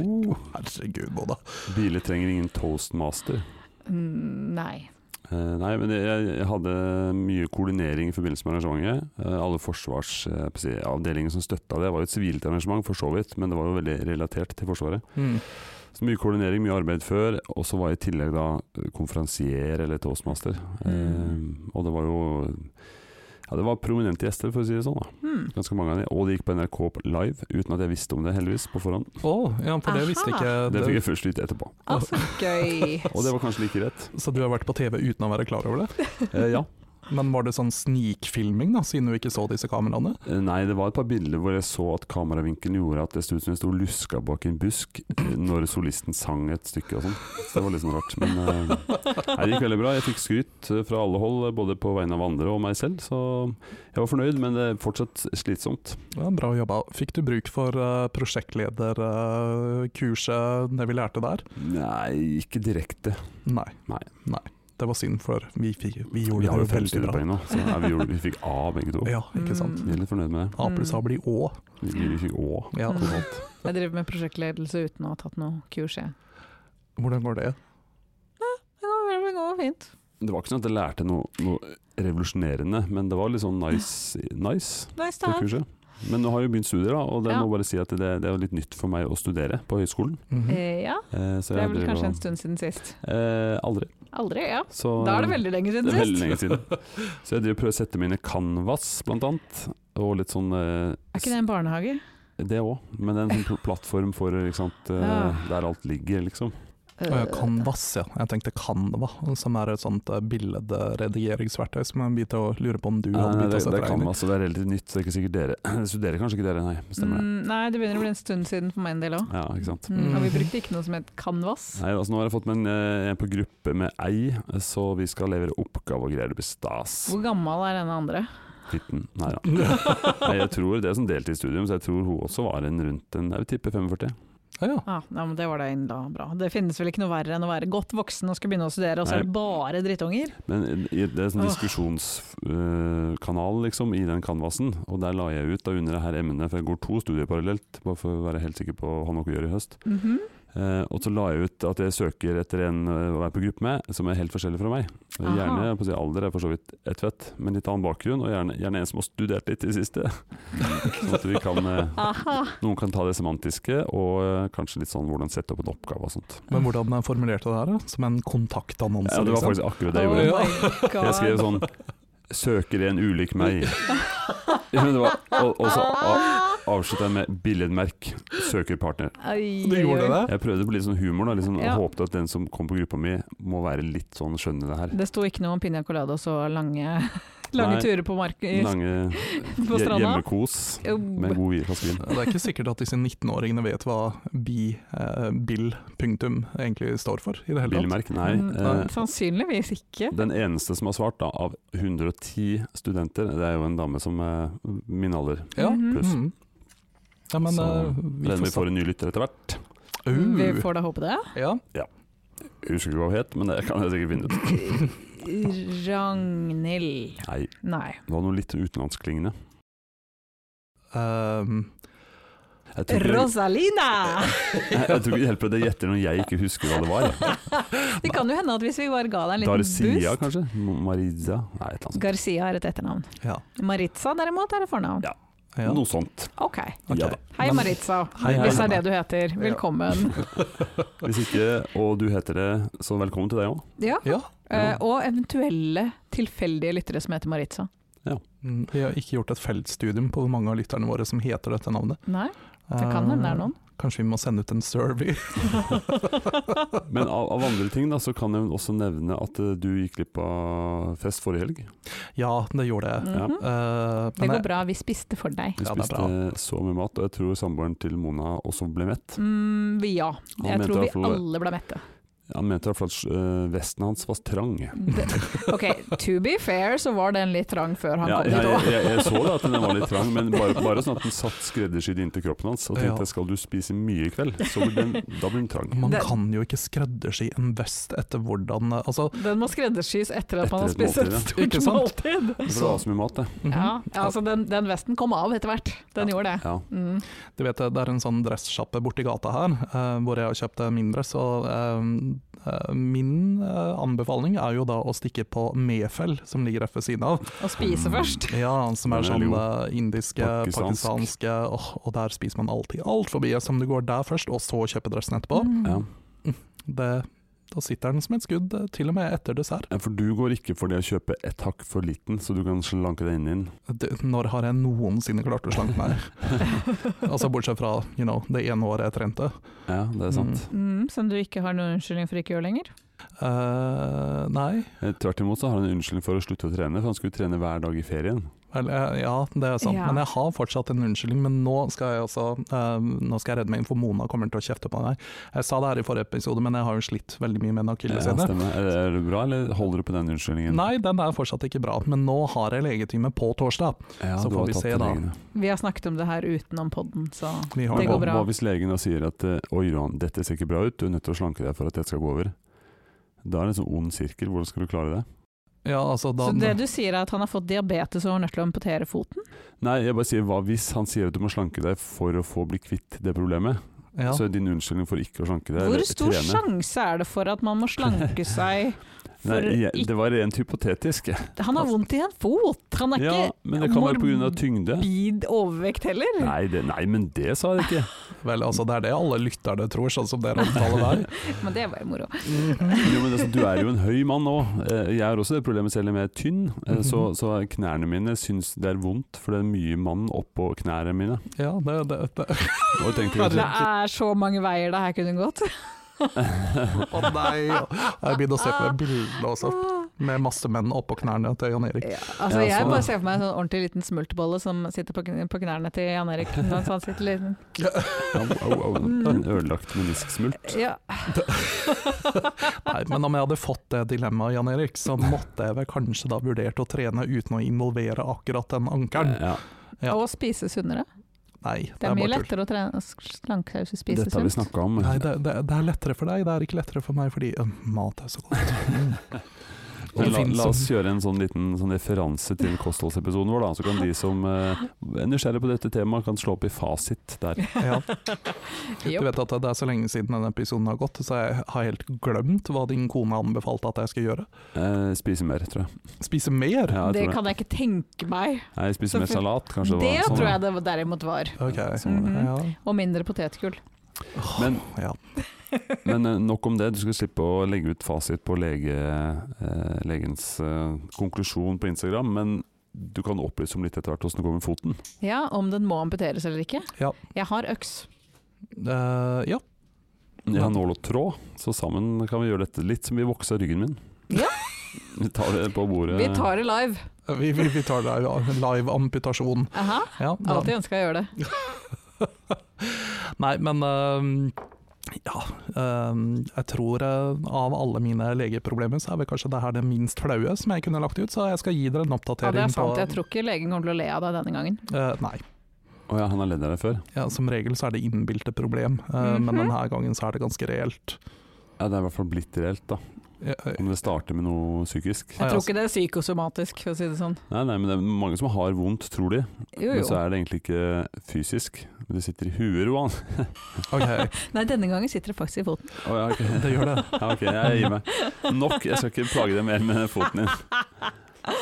[SPEAKER 1] oh,
[SPEAKER 3] <laughs> Herregud, Boda.
[SPEAKER 1] Biler trenger ingen toastmaster.
[SPEAKER 2] Mm, Nei.
[SPEAKER 1] Eh, nei, men det, jeg, jeg hadde mye koordinering i forbindelse med arrangementet. Eh, alle forsvarsavdelingene som støtta det. Det var jo et sivilt arrangement, for så vidt, men det var jo veldig relatert til Forsvaret.
[SPEAKER 3] Mm.
[SPEAKER 1] Så mye koordinering, mye arbeid før, og så var jeg i tillegg da eh, konferansier eller toastmaster. Eh,
[SPEAKER 2] Mm.
[SPEAKER 1] og det var jo Ja, det var prominente gjester, for å si det sånn. da.
[SPEAKER 2] Hmm.
[SPEAKER 1] Ganske mange av de. Og det gikk på NRK live, uten at jeg visste om det, heldigvis, på forhånd.
[SPEAKER 3] Å, ja, for det
[SPEAKER 2] Aha.
[SPEAKER 3] visste ikke
[SPEAKER 1] Det fikk jeg først vite etterpå.
[SPEAKER 2] Altså, gøy!
[SPEAKER 1] <laughs> Og det var kanskje like rett.
[SPEAKER 3] Så du har vært på TV uten å være klar over det?
[SPEAKER 1] Eh, ja.
[SPEAKER 3] Men var det sånn snikfilming, da, siden du ikke så disse kameraene?
[SPEAKER 1] Eh, Nei, det var et par bilder hvor jeg så at kameravinkelen gjorde at det sto ut som jeg sto og luska bak en busk eh, når solisten sang et stykke og sånn. Så det var litt sånn rart. Men eh, nei, det gikk veldig bra. Jeg fikk skryt eh, fra alle hold, eh, både på vegne av andre og meg selv. Så jeg var fornøyd, men det er fortsatt slitsomt.
[SPEAKER 3] Ja, bra jobba. Fikk du bruk for eh, prosjektlederkurset, det vi lærte der?
[SPEAKER 1] Nei, ikke direkte.
[SPEAKER 3] Nei.
[SPEAKER 1] Nei.
[SPEAKER 3] Det var synd, for vi, fikk- vi gjorde
[SPEAKER 1] Vi har jo
[SPEAKER 3] det jo
[SPEAKER 1] fem
[SPEAKER 3] veldig bra.
[SPEAKER 1] studiepoeng nå, så nei, vi, gjorde, vi fikk A begge to.
[SPEAKER 3] Ja, ikke sant.
[SPEAKER 2] Mm.
[SPEAKER 1] Vi er litt fornøyd med det.
[SPEAKER 3] A pluss A blir Å.
[SPEAKER 1] Vi, vi fikk Å.
[SPEAKER 3] Ja.
[SPEAKER 2] Mm. Jeg driver med prosjektledelse uten å ha tatt noe kurs, jeg.
[SPEAKER 3] Hvordan går det?
[SPEAKER 2] Det går, det går fint.
[SPEAKER 1] Det var ikke sånn at jeg lærte noe, noe revolusjonerende, men det var litt sånn nice, nice
[SPEAKER 2] Nice
[SPEAKER 1] på
[SPEAKER 2] to have.
[SPEAKER 1] kurset. Men nå har jeg jo begynt studier, da, og det
[SPEAKER 2] Ja.
[SPEAKER 1] må bare si at det, det er jo litt nytt for meg å studere på høyskolen.
[SPEAKER 3] Mhm.
[SPEAKER 2] Eh, Ja,
[SPEAKER 1] Eh, så
[SPEAKER 2] det er
[SPEAKER 1] jeg
[SPEAKER 2] vel
[SPEAKER 1] driver
[SPEAKER 2] kanskje
[SPEAKER 1] og-
[SPEAKER 2] en stund siden sist.
[SPEAKER 1] Eh, aldri.
[SPEAKER 2] Aldri, ja.
[SPEAKER 1] Så,
[SPEAKER 2] Da er det veldig lenge
[SPEAKER 1] det
[SPEAKER 2] siden
[SPEAKER 1] er veldig
[SPEAKER 2] sist.
[SPEAKER 1] lenge siden. <laughs> Så jeg driver og prøver å sette mine canvas, blant annet. Og litt sånn eh,
[SPEAKER 2] Er ikke det en barnehage?
[SPEAKER 1] s- Det òg, men en sånn pl- plattform for ikke sant, eh,
[SPEAKER 2] Ja.
[SPEAKER 1] der alt ligger, liksom.
[SPEAKER 3] Å ja,
[SPEAKER 2] Eh,
[SPEAKER 3] Canvas, ja. Jeg tenkte Canva, som er et sånt eh, billedredigeringsverktøy som jeg begynte å lure på om du
[SPEAKER 1] Nei,
[SPEAKER 3] hadde begynt å
[SPEAKER 1] det, det
[SPEAKER 3] sette
[SPEAKER 1] er
[SPEAKER 3] deg inn i.
[SPEAKER 1] canvas, og det er relativt nytt, så det er ikke sikkert dere <clears throat> studerer kanskje ikke dere, nei. Stemmer det.
[SPEAKER 2] Mm, nei, det begynner å bli en stund siden for min del òg.
[SPEAKER 1] Ja, ikke sant.
[SPEAKER 2] Mm, og vi
[SPEAKER 3] Mm.
[SPEAKER 2] brukte ikke noe som het canvas.
[SPEAKER 1] Nei, altså nå har jeg fått med en, eh, en på gruppe med ei, så vi skal levere oppgave og greier. Det blir stas.
[SPEAKER 2] Hvor gammel er denne andre?
[SPEAKER 1] Titten. Nei da. Nei, jeg tror det er som deltidsstudium, så jeg tror hun også var en rundt en Jeg vil tippe 45.
[SPEAKER 3] <laughs> Ja, ja.
[SPEAKER 2] Ah, Ja, nei, men Det var da inn da bra. Det finnes vel ikke noe verre enn å være godt voksen og skal begynne å studere, og så er det bare drittunger?
[SPEAKER 1] Men i- det er sånn
[SPEAKER 2] Åh.
[SPEAKER 1] diskusjonskanal liksom, i den canvasen, og der la jeg ut da under det her emnet, for jeg går to studier parallelt, bare for å være helt sikker på å ha noe å gjøre i høst.
[SPEAKER 2] Mhm.
[SPEAKER 1] Eh, og så la jeg ut at jeg søker etter en eh, å være på gruppe med, som er helt forskjellig fra meg. Og
[SPEAKER 2] Aha.
[SPEAKER 1] Gjerne jeg holdt på å si alder er for så vidt ett fett, men litt annen bakgrunn, og gjerne, gjerne en som har studert litt i det
[SPEAKER 2] <laughs>
[SPEAKER 1] siste. sånn at vi kan, eh,
[SPEAKER 2] Aha.
[SPEAKER 1] noen kan ta det semantiske, og eh, kanskje litt sånn hvordan sette opp en oppgave og sånt.
[SPEAKER 3] Men hvordan jeg formulerte det her? da? Som en
[SPEAKER 1] Ja,
[SPEAKER 3] kontaktannonse?
[SPEAKER 1] det var
[SPEAKER 3] liksom?
[SPEAKER 1] faktisk akkurat det jeg gjorde.
[SPEAKER 2] Oh my god.
[SPEAKER 1] Jeg skrev sånn Søker en ulik
[SPEAKER 2] <laughs>
[SPEAKER 1] meg. Ja, men det var, og, og så
[SPEAKER 2] Ah.
[SPEAKER 1] a- avslutta jeg med billedmerk. Søker partner.
[SPEAKER 2] Ai,
[SPEAKER 3] Du
[SPEAKER 2] ai,
[SPEAKER 3] gjorde
[SPEAKER 2] ai.
[SPEAKER 3] det?
[SPEAKER 1] Jeg prøvde på litt sånn humor. da liksom,
[SPEAKER 2] Ja.
[SPEAKER 1] og Håpte at den som kom på gruppa mi, må være litt sånn skjønne det her.
[SPEAKER 2] Det sto ikke noe om piña colados og lange, <laughs> lange
[SPEAKER 1] Nei.
[SPEAKER 2] turer på, mark i-
[SPEAKER 1] Lange
[SPEAKER 2] på
[SPEAKER 1] hje-
[SPEAKER 2] stranda.
[SPEAKER 1] hjemmekos med god vi- flaske vin.
[SPEAKER 3] Det er ikke sikkert at disse 19-åringene vet hva bi, eh, bill, punktum, egentlig står for. i det hele tatt.
[SPEAKER 1] Bilmerk? Nei.
[SPEAKER 2] Mm,
[SPEAKER 1] eh,
[SPEAKER 2] Sannsynligvis ikke.
[SPEAKER 1] Den eneste som har svart, da, av 110 studenter, det er jo en dame som er min alder.
[SPEAKER 3] Ja,
[SPEAKER 2] Mhm.
[SPEAKER 1] pluss.
[SPEAKER 3] Mhm. Ja, men
[SPEAKER 1] Så
[SPEAKER 3] eh,
[SPEAKER 1] Den vi
[SPEAKER 3] vi får,
[SPEAKER 1] får en ny lytter etter hvert.
[SPEAKER 3] uh,
[SPEAKER 2] Mm, Vi får da håpe det.
[SPEAKER 3] Ja,
[SPEAKER 1] <laughs> Jeg husker ikke hva hun het, men det kan jeg sikkert finne ut.
[SPEAKER 2] Ragnhild.
[SPEAKER 1] Nei,
[SPEAKER 2] Nei.
[SPEAKER 1] det var noe litt utenlandskklingende.
[SPEAKER 3] ehm,
[SPEAKER 1] Jeg tror ikke-
[SPEAKER 2] Rosalina!
[SPEAKER 1] Jeg, jeg tror ikke det hjelper at jeg gjetter når jeg ikke husker hva det var.
[SPEAKER 2] <laughs> Det kan jo hende at hvis vi bare ga deg en liten
[SPEAKER 1] Darcia,
[SPEAKER 2] boost
[SPEAKER 1] kanskje? M- Marizia? Nei, et eller annet sånt.
[SPEAKER 2] Garcia er et etternavn.
[SPEAKER 3] ja,
[SPEAKER 2] Maritza derimot er et fornavn.
[SPEAKER 1] Ja.
[SPEAKER 3] ja.
[SPEAKER 1] Noe sånt.
[SPEAKER 2] Ok.
[SPEAKER 3] Ok.
[SPEAKER 1] Ja da.
[SPEAKER 2] Hei,
[SPEAKER 3] Men-
[SPEAKER 2] Maritza.
[SPEAKER 1] Hei, hei.
[SPEAKER 2] Hvis det er det du heter. Velkommen.
[SPEAKER 1] Hvis ikke, og du heter det, så velkommen til deg òg.
[SPEAKER 2] Ja.
[SPEAKER 3] Ja.
[SPEAKER 2] eh, og eventuelle tilfeldige lyttere som heter Maritza.
[SPEAKER 3] Mm, Vi har ikke gjort et feltstudium på hvor mange av lytterne våre som heter dette navnet.
[SPEAKER 2] Nei, det kan hende det er noen.
[SPEAKER 3] Eh, Kanskje vi må sende ut en
[SPEAKER 2] <laughs>
[SPEAKER 3] survey?
[SPEAKER 1] Men av, av andre ting da, så kan jeg også nevne at eh, du gikk glipp av fest forrige helg.
[SPEAKER 3] Ja, det gjorde jeg.
[SPEAKER 1] Ja.
[SPEAKER 2] Mhm.
[SPEAKER 3] Eh,
[SPEAKER 2] Det
[SPEAKER 3] men
[SPEAKER 2] går
[SPEAKER 3] jeg-
[SPEAKER 2] bra, vi spiste for deg.
[SPEAKER 1] Vi
[SPEAKER 3] Ja, det er
[SPEAKER 1] spiste så mye mat, og jeg tror samboeren til Mona også ble mett.
[SPEAKER 2] Mm, vi- ja. Jeg
[SPEAKER 1] mente
[SPEAKER 2] tror
[SPEAKER 1] i
[SPEAKER 2] vi
[SPEAKER 1] hvert fall-
[SPEAKER 2] alle ble mette.
[SPEAKER 1] Han mente i hvert fall at eh, vesten hans var trang.
[SPEAKER 2] Det- Ok, to be fair så var den litt trang før han
[SPEAKER 1] Ja,
[SPEAKER 2] kom
[SPEAKER 1] jeg,
[SPEAKER 2] dit òg.
[SPEAKER 1] jeg, jeg så da at den var litt trang, men
[SPEAKER 2] <laughs>
[SPEAKER 1] bare, bare sånn at den satt skreddersydd inntil kroppen hans. Og
[SPEAKER 3] Ja.
[SPEAKER 1] tenkte skal du spise mye i kveld, så blir den, da blir den trang.
[SPEAKER 3] <laughs>
[SPEAKER 2] <laughs>
[SPEAKER 3] Man
[SPEAKER 2] Det-
[SPEAKER 3] kan jo ikke skreddersy en vest etter hvordan eh, Altså,
[SPEAKER 2] Den må skreddersys etter at man har
[SPEAKER 1] Etter et
[SPEAKER 2] spist
[SPEAKER 1] måltid,
[SPEAKER 2] et
[SPEAKER 1] ja.
[SPEAKER 2] stort
[SPEAKER 3] Ikke sant?
[SPEAKER 2] måltid.
[SPEAKER 1] For det var så mye mat, det.
[SPEAKER 3] mhm.
[SPEAKER 2] Ja, altså den, den vesten kom av etter hvert. Den
[SPEAKER 1] Ja.
[SPEAKER 2] gjorde det.
[SPEAKER 1] Ja.
[SPEAKER 2] Mm.
[SPEAKER 3] Du vet, Det er en sånn dressjappe borti gata her, eh, hvor jeg har kjøpt eh, min dress. Og, eh, eh, min eh, anbefaling er jo da å stikke på Mefel, som ligger rett ved siden av.
[SPEAKER 2] Å
[SPEAKER 1] Mm.
[SPEAKER 2] spise først.
[SPEAKER 3] Ja, Som er
[SPEAKER 1] Den er
[SPEAKER 3] sånn
[SPEAKER 1] god.
[SPEAKER 3] eh, indiske,
[SPEAKER 1] Pakistansk.
[SPEAKER 3] pakistanske åh, Og der spiser man alltid altfor mye. Som du går der først, og så kjøper dressen etterpå.
[SPEAKER 2] Mm.
[SPEAKER 1] Ja.
[SPEAKER 3] Det, da sitter den som et skudd, eh, til og med etter dessert.
[SPEAKER 1] Ja, For du går ikke for det å kjøpe et hakk for liten, så du kan slanke deg inn i den.
[SPEAKER 3] Det, når har jeg noensinne klart å slanke
[SPEAKER 1] <laughs>
[SPEAKER 3] meg? altså Bortsett fra you know, det ene året jeg trente.
[SPEAKER 1] Ja, det er sant.
[SPEAKER 2] Mm, som du ikke har noen unnskyldning for ikke å gjøre lenger.
[SPEAKER 3] Eh, nei,
[SPEAKER 1] Eh, Tvert imot så har han en unnskyldning for å slutte å trene, for han skulle trene hver dag i ferien.
[SPEAKER 3] Vel, eh, ja, det er sant.
[SPEAKER 2] Ja.
[SPEAKER 3] Men jeg har fortsatt en unnskyldning. Men nå skal jeg altså eh, Nå skal jeg redde meg inn, for Mona kommer til å kjefte på meg. Jeg sa det her i forrige episode, men jeg har jo slitt veldig mye med en
[SPEAKER 1] Ja,
[SPEAKER 3] akilleshæl.
[SPEAKER 1] stemmer. Er, er det bra, eller holder du på den unnskyldningen?
[SPEAKER 3] Nei, den er fortsatt ikke bra, men nå har jeg legetime på torsdag.
[SPEAKER 1] ja,
[SPEAKER 3] så
[SPEAKER 1] du
[SPEAKER 3] får
[SPEAKER 1] har
[SPEAKER 3] vi
[SPEAKER 1] tatt
[SPEAKER 3] se
[SPEAKER 1] det
[SPEAKER 3] da.
[SPEAKER 1] lenge.
[SPEAKER 2] Vi har snakket om det her utenom podden, så
[SPEAKER 3] Vi har
[SPEAKER 2] Det
[SPEAKER 1] hva,
[SPEAKER 2] går bra.
[SPEAKER 1] Hva hvis legen da sier at eh, oi Johan, dette ser ikke bra ut, du er nødt til å slanke deg for at dette skal gå over? Da er det en sånn ond sirkel, hvordan skal du klare det?
[SPEAKER 3] Ja, altså, da,
[SPEAKER 2] Så det du sier er at han har fått diabetes og er nødt til å amputere foten?
[SPEAKER 1] Nei, jeg bare sier hva hvis han sier at du må slanke deg for å få bli kvitt det problemet?
[SPEAKER 3] ja.
[SPEAKER 1] Så er din unnskyldning for ikke å slanke deg
[SPEAKER 2] Hvor
[SPEAKER 1] eller
[SPEAKER 2] stor
[SPEAKER 1] trene.
[SPEAKER 2] sjanse er det for at man må
[SPEAKER 1] <laughs>
[SPEAKER 2] slanke seg for
[SPEAKER 1] Nei, jeg,
[SPEAKER 2] ikke
[SPEAKER 1] det var rent hypotetisk. jeg.
[SPEAKER 2] Han har vondt i en fot! Han er
[SPEAKER 1] Ja, men det kan være pga. tyngde.
[SPEAKER 2] ikke bid overvekt heller.
[SPEAKER 1] Nei, det, nei, men det sa jeg ikke.
[SPEAKER 3] Vel, altså, det er det alle lytterne tror, sånn som dere omtaler der.
[SPEAKER 2] <laughs> Men det var jo moro.
[SPEAKER 1] Jo, men altså, du er jo en høy mann nå. Eh, Jeg har også det problemet selv om jeg er tynn. eh, Så, så knærne mine syns det er vondt, for det er mye mann oppå knærne mine.
[SPEAKER 3] Ja, det, det, det.
[SPEAKER 1] Og jeg tenker
[SPEAKER 2] Det
[SPEAKER 1] at-
[SPEAKER 2] er så mange veier det her kunne gått.
[SPEAKER 3] Å nei! Jeg begynner å se på bildene også,
[SPEAKER 2] <laughs>
[SPEAKER 3] med masse menn oppå knærne til Jan Erik.
[SPEAKER 2] Ja, altså
[SPEAKER 1] Altså, Ja,
[SPEAKER 2] jeg
[SPEAKER 1] sånn, ja.
[SPEAKER 2] bare ser for meg en sånn ordentlig liten smultebolle som sitter på, kn- på knærne til
[SPEAKER 1] <laughs>
[SPEAKER 2] Jan Erik. mens han sitter litt,
[SPEAKER 1] <laughs> au, au, au, En ødelagt menisksmult.
[SPEAKER 2] ja.
[SPEAKER 3] Nei, men om jeg hadde fått det dilemmaet, Jan Erik, så måtte jeg vel kanskje da vurdert å trene uten å involvere akkurat den ankelen.
[SPEAKER 1] Ja,
[SPEAKER 3] Ja.
[SPEAKER 2] Og spise sunnere.
[SPEAKER 3] Nei,
[SPEAKER 2] Det er,
[SPEAKER 3] bare
[SPEAKER 2] mye
[SPEAKER 3] tull.
[SPEAKER 2] lettere å trene slanke seg hvis du spiser
[SPEAKER 1] dette har vi
[SPEAKER 2] sunt.
[SPEAKER 1] snakka om.
[SPEAKER 3] Nei, det, det, det er lettere for deg, det er ikke lettere for meg fordi øh, mat er så godt. Og det
[SPEAKER 1] Men la,
[SPEAKER 3] finnes
[SPEAKER 1] la oss
[SPEAKER 3] som-
[SPEAKER 1] gjøre en sånn liten sånn referanse til kostholdsepisoden vår, da. Så kan de som eh, er nysgjerrige på dette temaet, kan slå opp i fasit der.
[SPEAKER 3] Ja. Du
[SPEAKER 2] Jopp.
[SPEAKER 3] vet at det er så lenge siden denne episoden har gått, så jeg har helt glemt hva din kone anbefalte at jeg skal gjøre.
[SPEAKER 1] Eh, spise mer, tror jeg.
[SPEAKER 3] Spise mer?
[SPEAKER 1] Ja, jeg tror
[SPEAKER 2] Det
[SPEAKER 1] det.
[SPEAKER 2] kan jeg ikke tenke meg.
[SPEAKER 1] Nei, spise mer
[SPEAKER 2] Så for-
[SPEAKER 1] salat, kanskje.
[SPEAKER 2] Det
[SPEAKER 1] var, sånn,
[SPEAKER 2] tror
[SPEAKER 1] ja.
[SPEAKER 2] jeg det derimot var.
[SPEAKER 3] Ok.
[SPEAKER 1] Sånn.
[SPEAKER 2] Mhm.
[SPEAKER 3] ja.
[SPEAKER 2] Og mindre potetgull.
[SPEAKER 1] Men,
[SPEAKER 3] ja.
[SPEAKER 1] men eh, nok om det. Du skal slippe å legge ut fasit på lege, eh, legens eh, konklusjon på Instagram. Men du kan opplyse om litt etter hvert hvordan det går med foten.
[SPEAKER 2] Ja, om den må amputeres eller ikke.
[SPEAKER 3] Ja.
[SPEAKER 2] Jeg har øks.
[SPEAKER 3] Eh, ja.
[SPEAKER 1] Jeg har nål og tråd, så sammen kan vi gjøre dette litt som vi voksa ryggen min.
[SPEAKER 2] Ja.
[SPEAKER 1] <laughs> Vi tar det på bordet.
[SPEAKER 2] Vi tar det live.
[SPEAKER 3] Vi, vi, vi tar det ja. live amputasjon.
[SPEAKER 2] Aha.
[SPEAKER 3] Ja, da-
[SPEAKER 2] Alltid ønska jeg å gjøre det.
[SPEAKER 3] <laughs> Nei, men øhm, ja, øhm, jeg tror øh, av alle mine legeproblemer, så er vel kanskje det her det minst flaue som jeg kunne lagt ut, så jeg skal gi dere en
[SPEAKER 2] Ja,
[SPEAKER 3] oppdatering
[SPEAKER 2] det er sant. Jeg
[SPEAKER 3] på
[SPEAKER 2] tror ikke legen kommer til å le av deg denne gangen.
[SPEAKER 3] Øh, Nei,
[SPEAKER 1] Å ja, han har ledd av deg før?
[SPEAKER 3] ja, som regel så er det innbilte problem, øh, men
[SPEAKER 2] Mhm.
[SPEAKER 3] denne gangen så er det ganske reelt.
[SPEAKER 1] Ja, det er i hvert fall blitt reelt, da.
[SPEAKER 3] Ja, øh,
[SPEAKER 1] Om det starter med noe psykisk.
[SPEAKER 3] Ja,
[SPEAKER 2] Jeg tror
[SPEAKER 3] altså.
[SPEAKER 2] ikke det er psykosomatisk, for å si det sånn.
[SPEAKER 1] Nei, nei, men det er mange som har vondt, tror de.
[SPEAKER 2] Jo,
[SPEAKER 1] Men så
[SPEAKER 2] jo.
[SPEAKER 1] er det egentlig ikke fysisk. Men det sitter i huet, Roan. <laughs>
[SPEAKER 3] Ok,
[SPEAKER 2] Nei, denne gangen sitter det faktisk i foten.
[SPEAKER 1] Å, ja, ok.
[SPEAKER 3] det gjør det.
[SPEAKER 1] <laughs> Ja, ok, jeg gir meg. Nok, jeg skal ikke plage deg mer med foten din.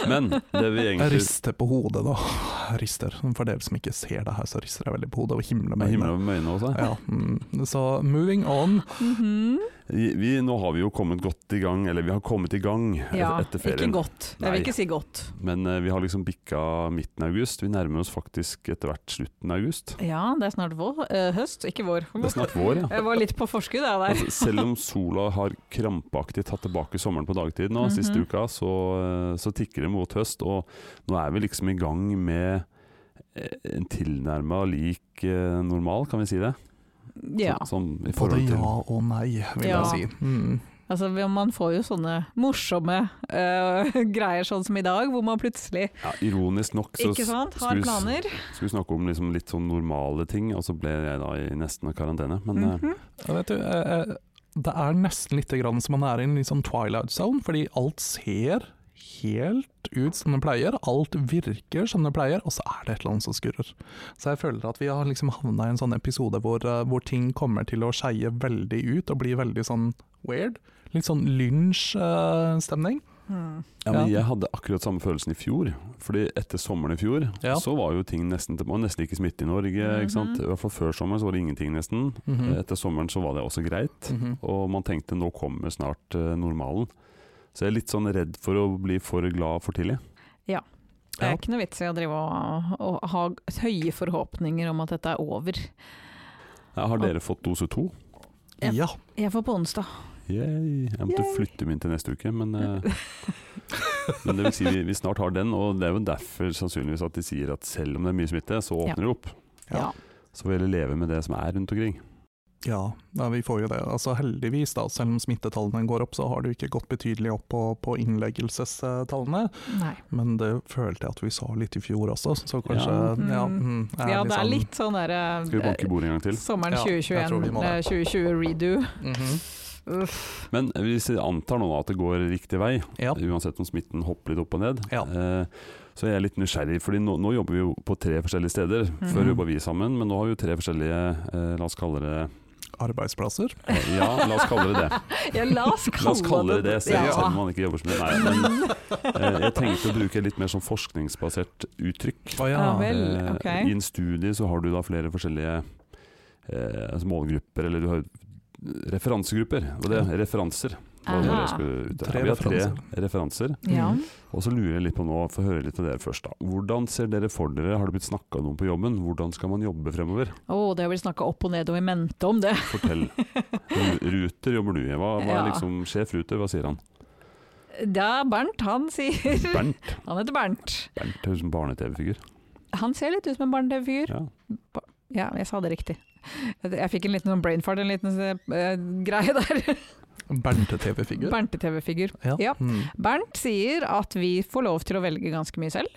[SPEAKER 1] Men det vi
[SPEAKER 3] Jeg
[SPEAKER 1] egentlig
[SPEAKER 3] rister på hodet da. <sighs> Jeg Rister. For dere som ikke ser det her, så rister jeg veldig på hodet og himler
[SPEAKER 1] med
[SPEAKER 3] med
[SPEAKER 1] himmel
[SPEAKER 3] øynene.
[SPEAKER 1] over øynene også.
[SPEAKER 3] Ja, mm. Så moving on.
[SPEAKER 2] Mhm.
[SPEAKER 1] Vi, nå har vi jo kommet godt i gang, eller vi har kommet i gang et-
[SPEAKER 2] Ja,
[SPEAKER 1] etter
[SPEAKER 2] ikke
[SPEAKER 1] ferien.
[SPEAKER 2] godt. Jeg vil
[SPEAKER 1] Nei.
[SPEAKER 2] ikke si godt.
[SPEAKER 1] Men eh, vi har liksom bikka midten av august. Vi nærmer oss faktisk etter hvert slutten av august.
[SPEAKER 2] Ja, det er snart vår. Eh, høst, ikke vår.
[SPEAKER 1] Det er snart vår, ja.
[SPEAKER 2] Jeg var litt på forskudd jeg, der.
[SPEAKER 1] Altså, selv om sola har krampaktig tatt tilbake sommeren på dagtid nå, siste
[SPEAKER 2] Mhm.
[SPEAKER 1] uka, så, eh, så tikker det mot høst. Og nå er vi liksom i gang med eh, en tilnærma lik eh, normal, kan vi si det?
[SPEAKER 2] Ja.
[SPEAKER 1] Så, sånn i
[SPEAKER 3] Både
[SPEAKER 1] forhold til
[SPEAKER 3] ja og nei, vil
[SPEAKER 2] Ja.
[SPEAKER 3] jeg si. Mm.
[SPEAKER 2] Altså, man får jo sånne morsomme øh, <laughs> greier, sånn som i dag, hvor man plutselig
[SPEAKER 1] ja, Ironisk nok så
[SPEAKER 2] ikke sant,
[SPEAKER 1] skal
[SPEAKER 2] har
[SPEAKER 1] vi s-
[SPEAKER 2] planer.
[SPEAKER 1] skulle vi snakke om liksom litt sånn normale ting, og så ble jeg da i nesten av karantene. Men eh,
[SPEAKER 2] Mhm.
[SPEAKER 3] Ja, Vet du, eh, eh, det er nesten litt grann som man er i en litt sånn twilight zone, fordi alt ser helt ut som det pleier, alt virker som det pleier, og så er det et eller annet som skurrer. Så jeg føler at vi har liksom havna i en sånn episode hvor, eh, hvor ting kommer til å skeie veldig ut og bli veldig sånn weird. Litt sånn eh, lynsj-stemning.
[SPEAKER 2] Mm.
[SPEAKER 1] ja, men
[SPEAKER 3] Ja.
[SPEAKER 1] jeg hadde akkurat samme følelsen i fjor. Fordi etter sommeren i fjor,
[SPEAKER 3] Ja.
[SPEAKER 1] så var jo ting nesten Det var nesten ikke smitte i Norge, ikke sant.
[SPEAKER 2] Mhm.
[SPEAKER 1] I hvert fall før sommeren så var det ingenting, nesten.
[SPEAKER 3] Mm.
[SPEAKER 1] Eh, Etter sommeren så var det også greit,
[SPEAKER 3] Mhm.
[SPEAKER 1] og man tenkte nå kommer snart eh, normalen. Så jeg er litt sånn redd for å bli for glad for tidlig.
[SPEAKER 2] Det er
[SPEAKER 3] Ja.
[SPEAKER 2] ikke noe vits i å drive og, og ha høye forhåpninger om at dette er over.
[SPEAKER 1] Ja, har dere fått dose to?
[SPEAKER 2] Ja.
[SPEAKER 3] Ja.
[SPEAKER 2] Jeg får på onsdag.
[SPEAKER 1] Yay. Jeg måtte
[SPEAKER 2] Yay.
[SPEAKER 1] flytte min til neste uke, men, eh, men det vil si vi, vi snart har den. Og det er jo derfor sannsynligvis at de sier at selv om det er mye smitte, så
[SPEAKER 2] Ja.
[SPEAKER 1] åpner det opp.
[SPEAKER 2] Ja.
[SPEAKER 3] Ja.
[SPEAKER 1] Så får vi heller leve med det som er rundt omkring.
[SPEAKER 3] Ja, ja, vi får jo det. Altså Heldigvis, da, selv om smittetallene går opp, så har det jo ikke gått betydelig opp på, på innleggelsestallene.
[SPEAKER 2] <laughs> Nei.
[SPEAKER 3] Men det følte jeg at vi sa litt i fjor også, så kanskje
[SPEAKER 1] Ja.
[SPEAKER 2] Mm.
[SPEAKER 3] ja, mm,
[SPEAKER 2] Ja, det er
[SPEAKER 3] sånn-
[SPEAKER 2] litt sånn derre
[SPEAKER 1] Skal vi banke i bordet en gang til?
[SPEAKER 2] Sommeren
[SPEAKER 3] Ja, jeg tror vi må
[SPEAKER 2] 2021,
[SPEAKER 3] det.
[SPEAKER 2] eh, 2020 redo.
[SPEAKER 3] Mhm.
[SPEAKER 2] Uff.
[SPEAKER 1] Men hvis vi antar nå at det går riktig vei,
[SPEAKER 3] Ja.
[SPEAKER 1] uansett om smitten hopper litt opp og ned,
[SPEAKER 3] Ja.
[SPEAKER 1] eh, så er jeg litt nysgjerrig. fordi nå, nå jobber vi jo på tre forskjellige steder.
[SPEAKER 2] Mhm.
[SPEAKER 1] Før jobba vi sammen, men nå har vi jo tre forskjellige eh, La oss kalle det
[SPEAKER 3] Arbeidsplasser.
[SPEAKER 1] eh, Ja, la oss kalle det det.
[SPEAKER 2] <laughs> Ja, la oss
[SPEAKER 1] La oss kalle
[SPEAKER 2] kalle
[SPEAKER 1] det det, selv, selv om
[SPEAKER 2] ja.
[SPEAKER 1] man ikke jobber så mye. Nei, men eh, jeg tenkte å bruke litt mer sånn forskningsbasert uttrykk.
[SPEAKER 3] Å
[SPEAKER 2] Ja, vel.
[SPEAKER 1] Eh,
[SPEAKER 2] ok.
[SPEAKER 1] I en studie så har du da flere forskjellige eh, altså målgrupper, eller du har referansegrupper. Og det er referanser. var ordet
[SPEAKER 2] Aha.
[SPEAKER 1] jeg skulle ut etter.
[SPEAKER 3] Tre
[SPEAKER 1] Vi har tre referanser.
[SPEAKER 2] Ja.
[SPEAKER 1] Og så lurer jeg litt på nå, få høre litt av dere først. da. Hvordan ser dere for dere, har det blitt snakka noe på jobben? Hvordan skal man jobbe fremover?
[SPEAKER 2] Å, det har blitt snakka opp og ned og i mente om det.
[SPEAKER 1] Fortell. Ru- Ruter jobber du i. Hva, hva er
[SPEAKER 2] Ja.
[SPEAKER 1] liksom sjef Ruter, hva sier
[SPEAKER 2] <laughs>
[SPEAKER 1] han?
[SPEAKER 2] Det er Bernt, han sier. <laughs>
[SPEAKER 1] Bernt.
[SPEAKER 2] Han heter Bernt.
[SPEAKER 1] Bernt høres ut som barne-TV-figur.
[SPEAKER 2] Han ser litt ut som en barne-TV-fyr.
[SPEAKER 1] Ja.
[SPEAKER 2] Ja, jeg sa det riktig. Jeg fikk en liten sånn brain fart, en liten eh, greie der.
[SPEAKER 3] Bernt-TV-figur.
[SPEAKER 2] Bernt-TV-figur. Ja.
[SPEAKER 3] Mm.
[SPEAKER 2] Bernt sier at vi får lov til å velge ganske mye selv,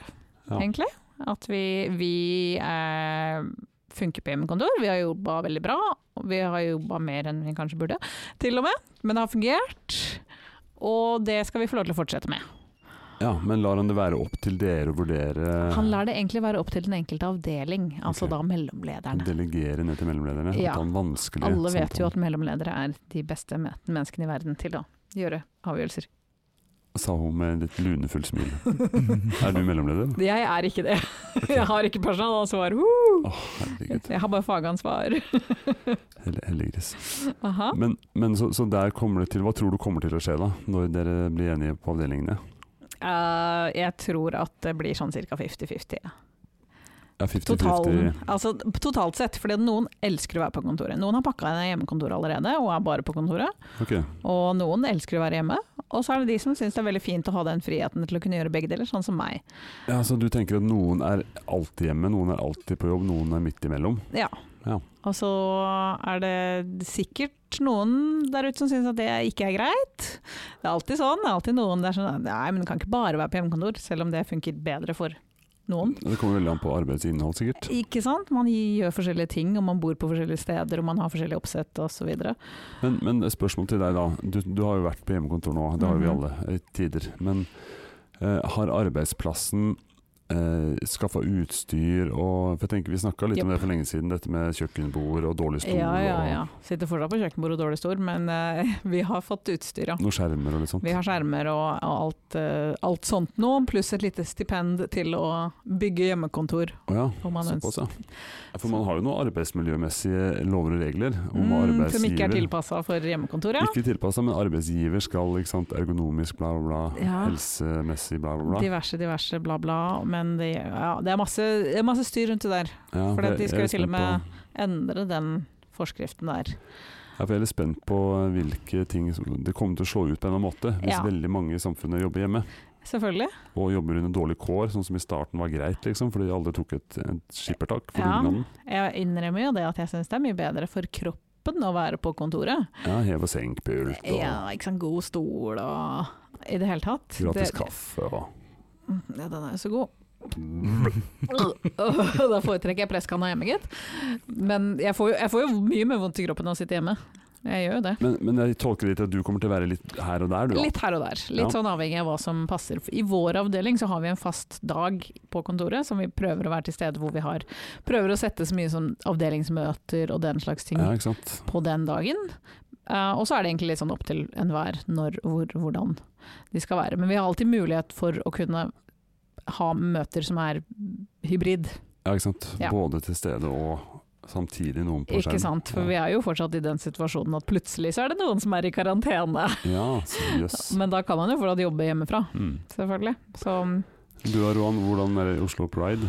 [SPEAKER 1] Ja.
[SPEAKER 2] egentlig. At vi, vi eh, funker på hjemmekontor. Vi har jobba veldig bra. og Vi har jobba mer enn vi kanskje burde, til og med. Men det har fungert. og det skal vi få lov til å fortsette med.
[SPEAKER 1] Ja, Men lar han det være opp til dere å vurdere?
[SPEAKER 2] Han lar det egentlig være opp til den enkelte avdeling, altså
[SPEAKER 1] Ok.
[SPEAKER 2] da mellomlederne.
[SPEAKER 1] Delegere ned til mellomlederne?
[SPEAKER 2] Ja.
[SPEAKER 1] Ja. Ta den vanskelige
[SPEAKER 2] Alle vet
[SPEAKER 1] samtalen.
[SPEAKER 2] jo at mellomledere er de beste me- menneskene i verden til å gjøre avgjørelser.
[SPEAKER 1] Sa hun med litt lunefullt smil. er du mellomleder?
[SPEAKER 2] Jeg er ikke det. Jeg har ikke personalansvar. Woo!
[SPEAKER 1] Herregud.
[SPEAKER 2] Jeg har bare fagansvar.
[SPEAKER 1] Helle- Helliggris.
[SPEAKER 2] Aha.
[SPEAKER 1] Men, men så, så der kommer det til Hva tror du kommer til å skje da, når dere blir enige på avdelingene?
[SPEAKER 2] Eh, jeg tror at det blir sånn ca. 50-50.
[SPEAKER 1] Ja, 50-50.
[SPEAKER 2] Totalen, altså, totalt sett, fordi noen elsker å være på kontoret. Noen har pakka inn hjemmekontoret allerede og er bare på kontoret.
[SPEAKER 1] Ok.
[SPEAKER 2] Og noen elsker å være hjemme. Og så er det de som syns det er veldig fint å ha den friheten til å kunne gjøre begge deler, sånn som meg.
[SPEAKER 1] Ja, så du tenker at noen er alltid hjemme, noen er alltid på jobb, noen er midt imellom?
[SPEAKER 2] Ja.
[SPEAKER 1] Ja.
[SPEAKER 2] Og så er det sikkert noen der ute som syns at det ikke er greit. Det er alltid sånn. Det er alltid noen der som Nei, men du kan ikke bare være på hjemmekontor, selv om det funker bedre for noen.
[SPEAKER 1] Det kommer veldig an på arbeidsinnhold, sikkert.
[SPEAKER 2] Ikke sant? Man gjør forskjellige ting, og man bor på forskjellige steder, og man har forskjellig oppsett osv.
[SPEAKER 1] Men, men et spørsmål til deg, da. Du, du har jo vært på hjemmekontor nå, det har
[SPEAKER 2] Mhm.
[SPEAKER 1] jo vi alle i tider. Men eh, har arbeidsplassen eh, skaffa utstyr og for jeg tenker Vi snakka litt om
[SPEAKER 2] Jepp.
[SPEAKER 1] det for lenge siden, dette med kjøkkenbord og dårlig stol
[SPEAKER 2] Ja, ja, ja. Sitter fortsatt på kjøkkenbordet og dårlig stor, men eh, <laughs> vi har fått utstyr, ja.
[SPEAKER 1] og noen skjermer og litt sånt.
[SPEAKER 2] Vi har skjermer og, og alt, eh, alt sånt nå, pluss et lite stipend til å bygge hjemmekontor.
[SPEAKER 1] Å ja.
[SPEAKER 2] Om man
[SPEAKER 1] Såpass,
[SPEAKER 2] ønsker.
[SPEAKER 1] ja. Ja, For man har jo noen arbeidsmiljømessige lover og regler om hva
[SPEAKER 2] Mm,
[SPEAKER 1] arbeidsgiver
[SPEAKER 2] som ikke er tilpassa for hjemmekontor, ja.
[SPEAKER 1] Ikke tilpassa, men arbeidsgiver skal ikke sant, ergonomisk bla, bla, bla.
[SPEAKER 2] Ja.
[SPEAKER 1] Helsemessig bla, bla, bla.
[SPEAKER 2] Diverse, diverse, bla, bla. Men det, ja, det, er masse, det er masse styr rundt det der.
[SPEAKER 1] Ja,
[SPEAKER 2] for at de
[SPEAKER 1] jeg-
[SPEAKER 2] skal
[SPEAKER 1] jeg er
[SPEAKER 2] jo til
[SPEAKER 1] spent
[SPEAKER 2] og med-
[SPEAKER 1] på-
[SPEAKER 2] Endre den forskriften der.
[SPEAKER 1] Ja, for jeg er litt spent på hvilke ting som det kommer til å slå ut på en eller annen måte hvis
[SPEAKER 2] Ja.
[SPEAKER 1] veldig mange i samfunnet jobber hjemme.
[SPEAKER 2] Selvfølgelig.
[SPEAKER 1] Og jobber under dårlig kår, sånn som i starten var greit, liksom, fordi alle tok et, et skippertak for
[SPEAKER 2] Ja.
[SPEAKER 1] dugnaden.
[SPEAKER 2] Jeg innrømmer jo det at jeg syns det er mye bedre for kroppen å være på kontoret.
[SPEAKER 1] Ja, hev og senk pult og
[SPEAKER 2] Ja, ikke sant. God stol og I det hele tatt.
[SPEAKER 1] gratis
[SPEAKER 2] Det- Mm,
[SPEAKER 1] kaffe og
[SPEAKER 2] Ja, den er jo så god. <laughs> da foretrekker jeg presskanna hjemme, gitt. Men jeg får, jo, jeg får jo mye mer vondt i kroppen av å sitte hjemme. Jeg gjør jo det.
[SPEAKER 1] men, men jeg tolker det til at du kommer til å være litt her og der, du da?
[SPEAKER 2] Litt her og der. Litt
[SPEAKER 1] Ja.
[SPEAKER 2] sånn avhengig av hva som passer. I vår avdeling så har vi en fast dag på kontoret som vi prøver å være til stede hvor vi har. Prøver å sette så mye som avdelingsmøter og den slags ting
[SPEAKER 1] Ja, ikke sant.
[SPEAKER 2] på den dagen. Eh, og så er det egentlig litt sånn opp til enhver når, hvor, hvordan de skal være. Men vi har alltid mulighet for å kunne ha møter som er hybrid.
[SPEAKER 1] Ja, ikke sant.
[SPEAKER 2] Ja.
[SPEAKER 1] Både til stede og samtidig noen på skjerm.
[SPEAKER 2] Ikke sant? For vi
[SPEAKER 1] ja.
[SPEAKER 2] er jo fortsatt i den situasjonen at plutselig så er det noen som er i karantene. <laughs>
[SPEAKER 1] Ja, så jøss.
[SPEAKER 2] Men da kan man jo fortsatt jobbe hjemmefra,
[SPEAKER 1] Mm.
[SPEAKER 2] selvfølgelig. Så
[SPEAKER 1] Du da, Roan, hvordan er det i Oslo Pride?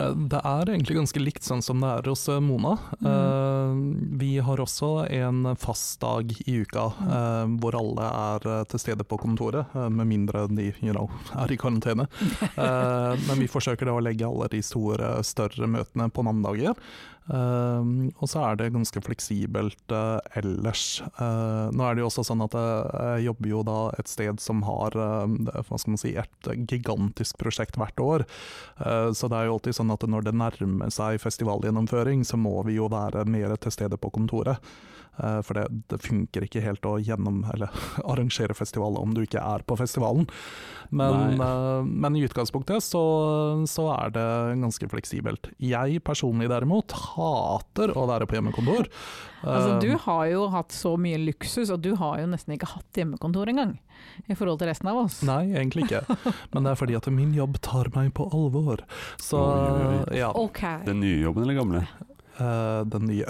[SPEAKER 3] Eh, Det er egentlig ganske likt sånn som det er hos eh, Mona. Eh, Vi har også en fast dag i uka eh, hvor alle er eh, til stede på kontoret, eh, med mindre de you know, er i karantene. Eh, Men vi forsøker da å legge alle de store, større møtene på mandager. Eh, Og så er det ganske fleksibelt eh, ellers. Eh, Nå er det jo også sånn at eh, jeg jobber jo da et sted som har eh, hva skal man si, et gigantisk prosjekt hvert år. Eh, Så det er jo alltid sånn at når det nærmer seg festivalgjennomføring, så må vi jo være mer til stede på kontoret. Eh, For det, det funker ikke helt å gjennom, eller, <laughs> arrangere festival om du ikke er på festivalen. Men, eh, men i utgangspunktet så, så er det ganske fleksibelt. Jeg personlig derimot hater å være
[SPEAKER 1] <laughs>
[SPEAKER 3] på hjemmekontor.
[SPEAKER 2] altså,
[SPEAKER 3] Eh,
[SPEAKER 1] Um.
[SPEAKER 2] du har jo hatt så mye luksus, og du har jo nesten ikke hatt hjemmekontor engang, i forhold til resten av oss.
[SPEAKER 3] Eh, Nei,
[SPEAKER 1] <laughs>
[SPEAKER 3] egentlig ikke. Men det er fordi at min jobb tar meg på alvor. Så
[SPEAKER 1] Oi, oi,
[SPEAKER 3] ja.
[SPEAKER 2] Ok.
[SPEAKER 1] Den nye jobben eller gamle?
[SPEAKER 3] Eh,
[SPEAKER 1] <laughs>
[SPEAKER 3] den nye.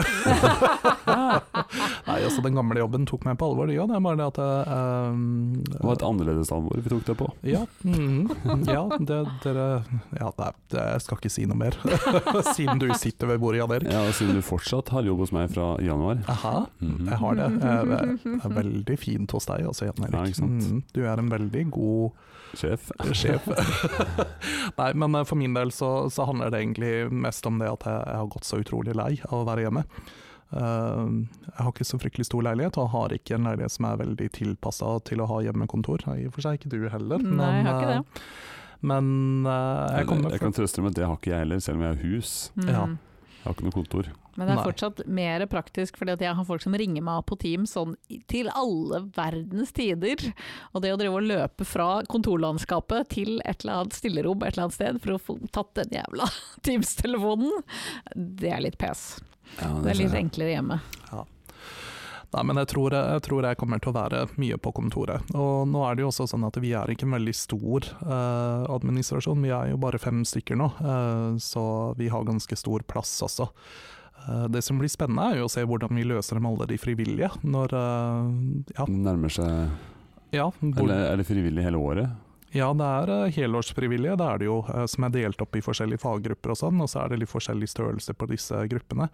[SPEAKER 3] Nei, altså den gamle jobben tok meg på alvor, det gjør det. Bare det at eh,
[SPEAKER 1] Det var et annerledes alvor vi tok det på.
[SPEAKER 3] ja, mhm. ja, det, dere Ja, nei, det, jeg skal ikke si noe mer, <laughs> siden du sitter ved bordet, Jan Erik.
[SPEAKER 1] Ja, og Siden du fortsatt har jobb hos meg fra januar.
[SPEAKER 3] Aha,
[SPEAKER 1] Mhm.
[SPEAKER 3] jeg har det. Jeg, jeg, jeg er veldig fint hos deg også, Jan Erik.
[SPEAKER 1] Ja, ikke sant.
[SPEAKER 3] Mhm, du er en veldig god
[SPEAKER 1] <laughs> Sjef.
[SPEAKER 3] sjef. <laughs> Nei, men eh, for min del så, så handler det egentlig mest om det at jeg, jeg har gått så utrolig lei av å være hjemme. Eh, jeg har ikke så fryktelig stor leilighet, og har ikke en leilighet som er veldig tilpassa til å ha hjemmekontor. Nei, I og for seg ikke du heller.
[SPEAKER 2] Nei, jeg har ikke
[SPEAKER 3] eh, Men eh, jeg
[SPEAKER 1] Jeg,
[SPEAKER 3] kommer
[SPEAKER 1] jeg kan trøste deg med at det har ikke jeg heller, selv om jeg har hus.
[SPEAKER 2] Mm.
[SPEAKER 3] Ja.
[SPEAKER 1] Jeg har ikke noe kontor.
[SPEAKER 2] Men det er
[SPEAKER 3] Nei.
[SPEAKER 2] fortsatt mer praktisk, fordi at jeg har folk som ringer meg på Teams sånn i- til alle verdens tider. Og det å drive og løpe fra kontorlandskapet til et eller annet stillerom et eller annet sted for å få tatt den jævla <laughs> Teams-telefonen, det er litt pes.
[SPEAKER 1] Ja,
[SPEAKER 2] Det er litt
[SPEAKER 1] skjønner jeg.
[SPEAKER 2] enklere hjemme.
[SPEAKER 3] Nei, men jeg tror, jeg tror jeg kommer til å være mye på kontoret. Og nå er det jo også sånn at vi er ikke en veldig stor eh, administrasjon, vi er jo bare fem stykker nå, eh, så vi har ganske stor plass også. Eh, det som blir spennende er jo å se hvordan vi løser det med alle de frivillige, når eh, ja,
[SPEAKER 1] Nærmer seg
[SPEAKER 3] ja, hvor,
[SPEAKER 1] Eller er det frivillig hele året?
[SPEAKER 3] ja, det er eh, helårsfrivillige, det er det jo, eh, som er delt opp i forskjellige faggrupper og sånn, og så er det litt forskjellig størrelse på disse gruppene.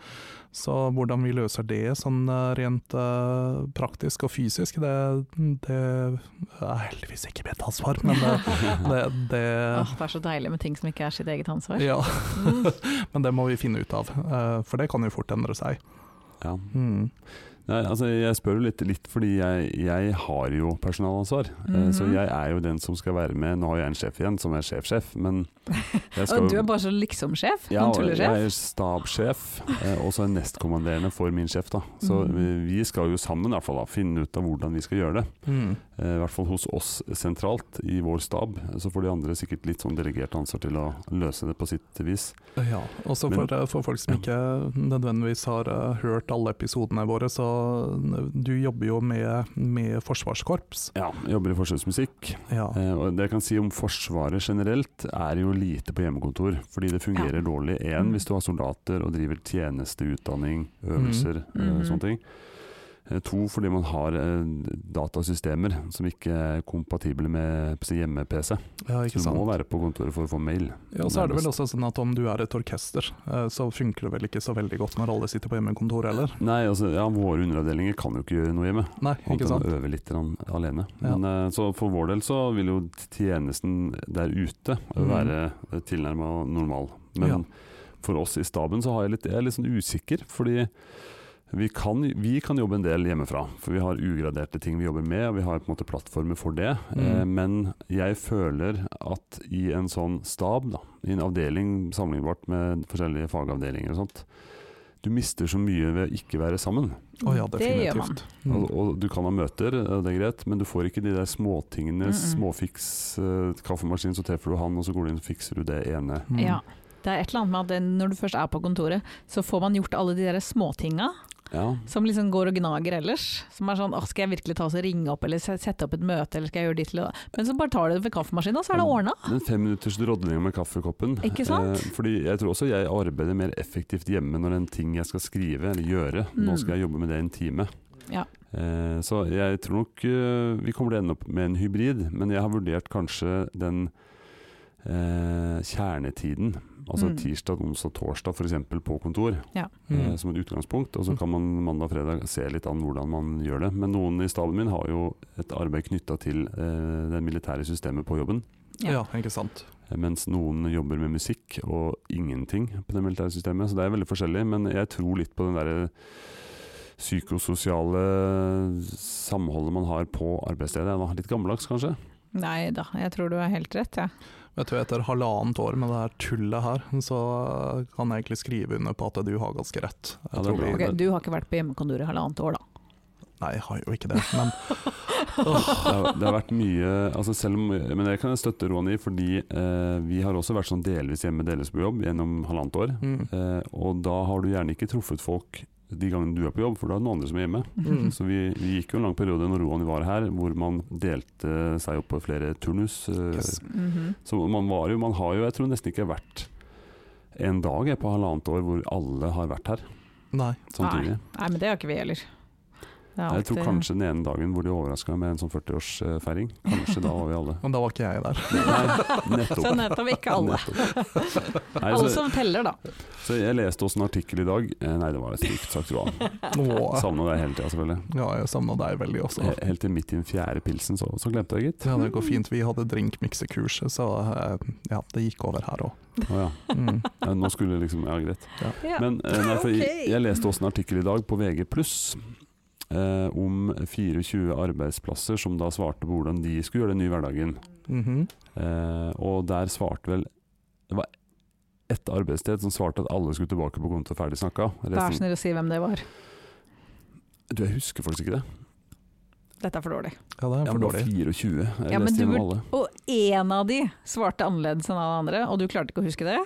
[SPEAKER 3] Så hvordan vi løser det sånn eh, rent eh, praktisk og fysisk, det, det er heldigvis ikke mitt ansvar, men det, det, det
[SPEAKER 2] Åh, det er så deilig med ting som ikke er sitt eget ansvar.
[SPEAKER 3] Ja,
[SPEAKER 2] Mm.
[SPEAKER 3] <laughs> men det må vi finne ut av, eh, for det kan jo fort endre seg.
[SPEAKER 1] Ja.
[SPEAKER 3] Mm.
[SPEAKER 1] Nei, altså jeg spør jo litt, litt fordi jeg, jeg har jo personalansvar. Eh, Så
[SPEAKER 2] Mhm.
[SPEAKER 1] jeg er jo den som skal være med. Nå har jeg en sjef igjen som er sjefsjef, men
[SPEAKER 2] <laughs>
[SPEAKER 1] jeg skal
[SPEAKER 2] Og du
[SPEAKER 1] jo-
[SPEAKER 2] er bare så liksom-sjef?
[SPEAKER 1] ja,
[SPEAKER 2] noen
[SPEAKER 1] og
[SPEAKER 2] tullesjef?
[SPEAKER 1] Jeg er stabssjef, eh, og så er nestkommanderende for min sjef. da. Så
[SPEAKER 2] Mhm.
[SPEAKER 1] vi- vi skal jo sammen i hvert fall da, finne ut av hvordan vi skal gjøre det.
[SPEAKER 3] Mm.
[SPEAKER 1] Eh, I hvert fall hos oss sentralt i vår stab. Så får de andre sikkert litt sånn delegert ansvar til å løse det på sitt vis.
[SPEAKER 3] Ja, også for,
[SPEAKER 1] Men-
[SPEAKER 3] eh, for folk som
[SPEAKER 1] Ja.
[SPEAKER 3] ikke nødvendigvis har eh, hørt alle episodene våre, så eh, du jobber jo med, med forsvarskorps.
[SPEAKER 1] Ja, jeg jobber i forsvarsmusikk.
[SPEAKER 3] Ja.
[SPEAKER 1] Eh, og det jeg kan si om Forsvaret generelt, er jo lite på hjemmekontor. Fordi det fungerer dårlig. Én
[SPEAKER 2] Mm.
[SPEAKER 1] hvis du har soldater og driver tjeneste, utdanning, øvelser, eh,
[SPEAKER 2] Mm.
[SPEAKER 3] Mm-hmm.
[SPEAKER 2] Mhm.
[SPEAKER 1] sånne ting. Eh, To fordi man har eh, datasystemer som ikke er kompatible med på å si, hjemme-PC.
[SPEAKER 3] ja,
[SPEAKER 1] Så
[SPEAKER 3] ikke
[SPEAKER 1] du må
[SPEAKER 3] sant.
[SPEAKER 1] være på kontoret for å få mail.
[SPEAKER 3] Ja, og så er det vel også sånn at om du er et orkester, eh, så funker det vel ikke så veldig godt når alle sitter på hjemmekontor heller.
[SPEAKER 1] Nei, altså, ja, våre underavdelinger kan jo ikke gjøre noe hjemme.
[SPEAKER 3] Nei,
[SPEAKER 1] Annet
[SPEAKER 3] ikke
[SPEAKER 1] enn
[SPEAKER 3] sant.
[SPEAKER 1] å øve litt grann alene.
[SPEAKER 3] Ja.
[SPEAKER 1] Men, eh, så for vår del så vil jo tjenesten der ute
[SPEAKER 3] Mm.
[SPEAKER 1] være tilnærma normal. Men
[SPEAKER 3] Ja.
[SPEAKER 1] for oss i staben så har jeg litt, jeg er litt sånn usikker, fordi vi kan, vi kan jobbe en del hjemmefra. For vi har ugraderte ting vi jobber med, og vi har på en måte plattformer for det.
[SPEAKER 3] Mm.
[SPEAKER 1] Eh, men jeg føler at i en sånn stab, da, i en avdeling sammenlignbart med forskjellige fagavdelinger og sånt, du mister så mye ved å ikke være sammen.
[SPEAKER 3] Å ja,
[SPEAKER 2] Det gjør man.
[SPEAKER 3] definitivt. Mm.
[SPEAKER 1] Og, og du kan ha møter, eh, det er greit, men du får ikke de der småtingene.
[SPEAKER 2] Mm, mm.
[SPEAKER 1] Småfiks, eh, kaffemaskin, så treffer du han, og så går du inn og fikser du det ene.
[SPEAKER 3] Mm.
[SPEAKER 2] Ja. Det er et eller annet med at det, når du først er på kontoret, så får man gjort alle de der småtinga
[SPEAKER 1] Ja,
[SPEAKER 2] som liksom går og gnager ellers. Som er sånn «Åh, skal jeg virkelig ta oss og ringe opp, eller se- sette opp et møte, eller skal jeg gjøre ditt eller datt?» Men så bare tar du det ved kaffemaskina, så
[SPEAKER 1] Mm.
[SPEAKER 2] er det ordna.
[SPEAKER 1] Den femminutters drodlinga med kaffekoppen.
[SPEAKER 2] Ikke sant?
[SPEAKER 1] Eh, fordi jeg tror også jeg arbeider mer effektivt hjemme når det er en ting jeg skal skrive eller gjøre. Nå
[SPEAKER 2] Mm.
[SPEAKER 1] skal jeg jobbe med det i en time.
[SPEAKER 2] Ja.
[SPEAKER 1] Eh, så jeg tror nok eh, vi kommer til å ende opp med en hybrid, men jeg har vurdert kanskje den eh, kjernetiden. Altså
[SPEAKER 2] Mm.
[SPEAKER 1] tirsdag, onsdag, torsdag f.eks. på kontor, eh,
[SPEAKER 3] Mm.
[SPEAKER 1] som et utgangspunkt. Og så
[SPEAKER 3] Mm.
[SPEAKER 1] kan man mandag og fredag se litt an hvordan man gjør det. Men noen i staben min har jo et arbeid knytta til eh, det militære systemet på jobben. eh,
[SPEAKER 2] Ja.
[SPEAKER 3] Ja, ikke sant.
[SPEAKER 1] Mens noen jobber med musikk og ingenting på det militære systemet. Så det er veldig forskjellig, men jeg tror litt på den derre psykososiale samholdet man har på arbeidsstedet. Da. Litt gammeldags, kanskje.
[SPEAKER 2] Nei da, jeg tror du har helt rett, jeg.
[SPEAKER 3] Vet du, etter halvannet år med det her tullet her, så kan jeg egentlig skrive under på at du har ganske rett. Jeg
[SPEAKER 1] Ja, det er
[SPEAKER 3] tror
[SPEAKER 1] bra.
[SPEAKER 3] vi-
[SPEAKER 2] Ok, du har ikke vært på hjemmekontoret i halvannet år, da.
[SPEAKER 3] Nei, jeg har jo ikke det, men
[SPEAKER 1] <laughs> Det har, det har vært mye altså selv om, Men det kan jeg støtte Roan i, fordi eh, vi har også vært sånn delvis hjemme, delvis på jobb gjennom halvannet år.
[SPEAKER 3] mm.
[SPEAKER 1] Eh, og da har du gjerne ikke truffet folk de gangene du er på jobb, for da er det noen andre som er hjemme.
[SPEAKER 3] Mm.
[SPEAKER 1] Så vi, vi gikk jo en lang periode når Roan var her, hvor man delte seg opp på flere turnus. eh,
[SPEAKER 2] <laughs>
[SPEAKER 3] Yes.
[SPEAKER 2] Mhm.
[SPEAKER 1] Så man var jo, man har jo, jeg tror nesten ikke vært en dag jeg, på halvannet år hvor alle har vært her
[SPEAKER 3] Nei.
[SPEAKER 1] samtidig.
[SPEAKER 2] Nei, men det har ikke vi heller. Det er
[SPEAKER 1] Jeg tror
[SPEAKER 2] alltid-
[SPEAKER 1] kanskje den ene dagen hvor de overraska med en sånn 40-årsfeiring. Kanskje da var vi
[SPEAKER 2] <laughs>
[SPEAKER 1] alle.
[SPEAKER 3] Men da var ikke
[SPEAKER 1] <laughs>
[SPEAKER 3] jeg der.
[SPEAKER 1] Nei,
[SPEAKER 2] Så
[SPEAKER 1] nettopp.
[SPEAKER 2] nettopp ikke
[SPEAKER 1] <laughs>
[SPEAKER 2] alle.
[SPEAKER 1] Nettopp. Nei,
[SPEAKER 2] Alle
[SPEAKER 1] så,
[SPEAKER 2] som teller, da.
[SPEAKER 1] så jeg leste også en artikkel i dag. Eh, Nei, det var stygt sagt, Roan.
[SPEAKER 3] Åh.
[SPEAKER 1] Savna deg hele tida, selvfølgelig.
[SPEAKER 3] Ja, jeg savna deg veldig også.
[SPEAKER 1] Eh, Helt til midt i den fjerde pilsen, så, så glemte jeg, gitt.
[SPEAKER 3] Ja, det går fint. Vi hadde drinkmiksekurs, så eh, ja, det gikk over her
[SPEAKER 1] <laughs>
[SPEAKER 3] òg.
[SPEAKER 1] Å ja.
[SPEAKER 3] Mm.
[SPEAKER 1] Eh, Nå skulle jeg liksom Ja, greit.
[SPEAKER 2] Ja.
[SPEAKER 1] Men eh, nei, for jeg,
[SPEAKER 2] Ok.
[SPEAKER 1] jeg leste også en artikkel i dag på VG eh, om 24 arbeidsplasser som da svarte på hvordan de skulle gjøre den nye hverdagen.
[SPEAKER 3] Mhm.
[SPEAKER 1] Eh, og der svarte vel Det var ett arbeidssted som svarte at alle skulle tilbake på kontoret ferdig snakka. Jeg
[SPEAKER 2] Vær
[SPEAKER 1] leste
[SPEAKER 2] snill å si sånn hvem det var.
[SPEAKER 1] den- Du, jeg husker faktisk ikke det.
[SPEAKER 2] Dette er for dårlig.
[SPEAKER 3] Ja, det er
[SPEAKER 1] Jeg
[SPEAKER 3] for
[SPEAKER 1] var
[SPEAKER 3] dårlig.
[SPEAKER 1] 24. Jeg
[SPEAKER 2] Ja, men
[SPEAKER 1] leste
[SPEAKER 2] du
[SPEAKER 1] gjennom
[SPEAKER 2] burde-
[SPEAKER 1] alle.
[SPEAKER 2] Og én av de svarte annerledes enn alle andre, og du klarte ikke å huske det?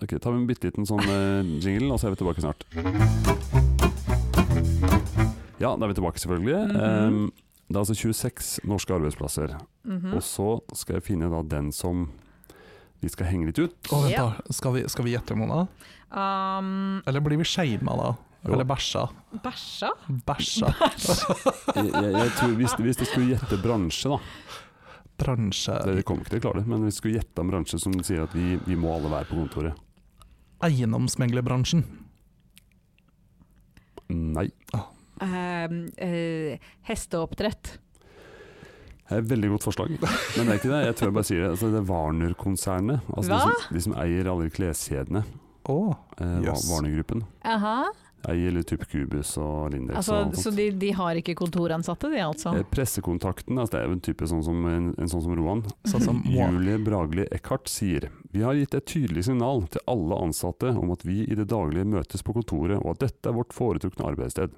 [SPEAKER 1] Ok, Ta med en bitte liten sånn eh, jingle, og så er vi tilbake snart. Ja, da er vi tilbake, selvfølgelig.
[SPEAKER 2] Mhm.
[SPEAKER 1] Eh, det er altså 26 norske arbeidsplasser.
[SPEAKER 2] Mhm.
[SPEAKER 1] Og så skal jeg finne da den som vi skal henge litt ut.
[SPEAKER 3] Å, vent da. Skal vi, skal vi gjette, Mona?
[SPEAKER 2] um,
[SPEAKER 3] Eller blir vi shama da?
[SPEAKER 1] Jo.
[SPEAKER 3] Eller bæsja?
[SPEAKER 2] bæsja?
[SPEAKER 3] Bæsja.
[SPEAKER 1] Jeg, jeg, jeg tror hvis, hvis det skulle gjette bransje, da
[SPEAKER 3] Bransje.
[SPEAKER 1] Dere kommer ikke til å klare det, men hvis vi skulle gjette en bransje som sier at vi, vi må alle være på kontoret
[SPEAKER 3] Eiendomsmeglerbransjen.
[SPEAKER 1] Nei.
[SPEAKER 2] Um, eh, hesteoppdrett.
[SPEAKER 1] Det er et veldig godt forslag, men det er ikke det. Jeg tror jeg bare sier det. Altså, det er Warner-konsernet. Altså, de,
[SPEAKER 2] Hva?
[SPEAKER 1] som- de som eier alle kjedene.
[SPEAKER 3] Å,
[SPEAKER 1] Eh,
[SPEAKER 3] Yes.
[SPEAKER 1] Wa- Warner-gruppen.
[SPEAKER 2] Aha. Eier
[SPEAKER 1] Eier litt type Cubus og Lindex
[SPEAKER 2] Altså,
[SPEAKER 1] og alt
[SPEAKER 2] så
[SPEAKER 1] sånt.
[SPEAKER 2] de, de har ikke kontoransatte, de altså?
[SPEAKER 1] Eh, Pressekontakten, altså det er jo en type sånn som, en, en sånn som Roan,
[SPEAKER 3] sånn
[SPEAKER 1] <clears throat>
[SPEAKER 3] som Wa-
[SPEAKER 1] Julie Bragli Eckhart sier Vi har gitt et tydelig signal til alle ansatte om at vi i det daglige møtes på kontoret, og at dette er vårt foretrukne arbeidssted.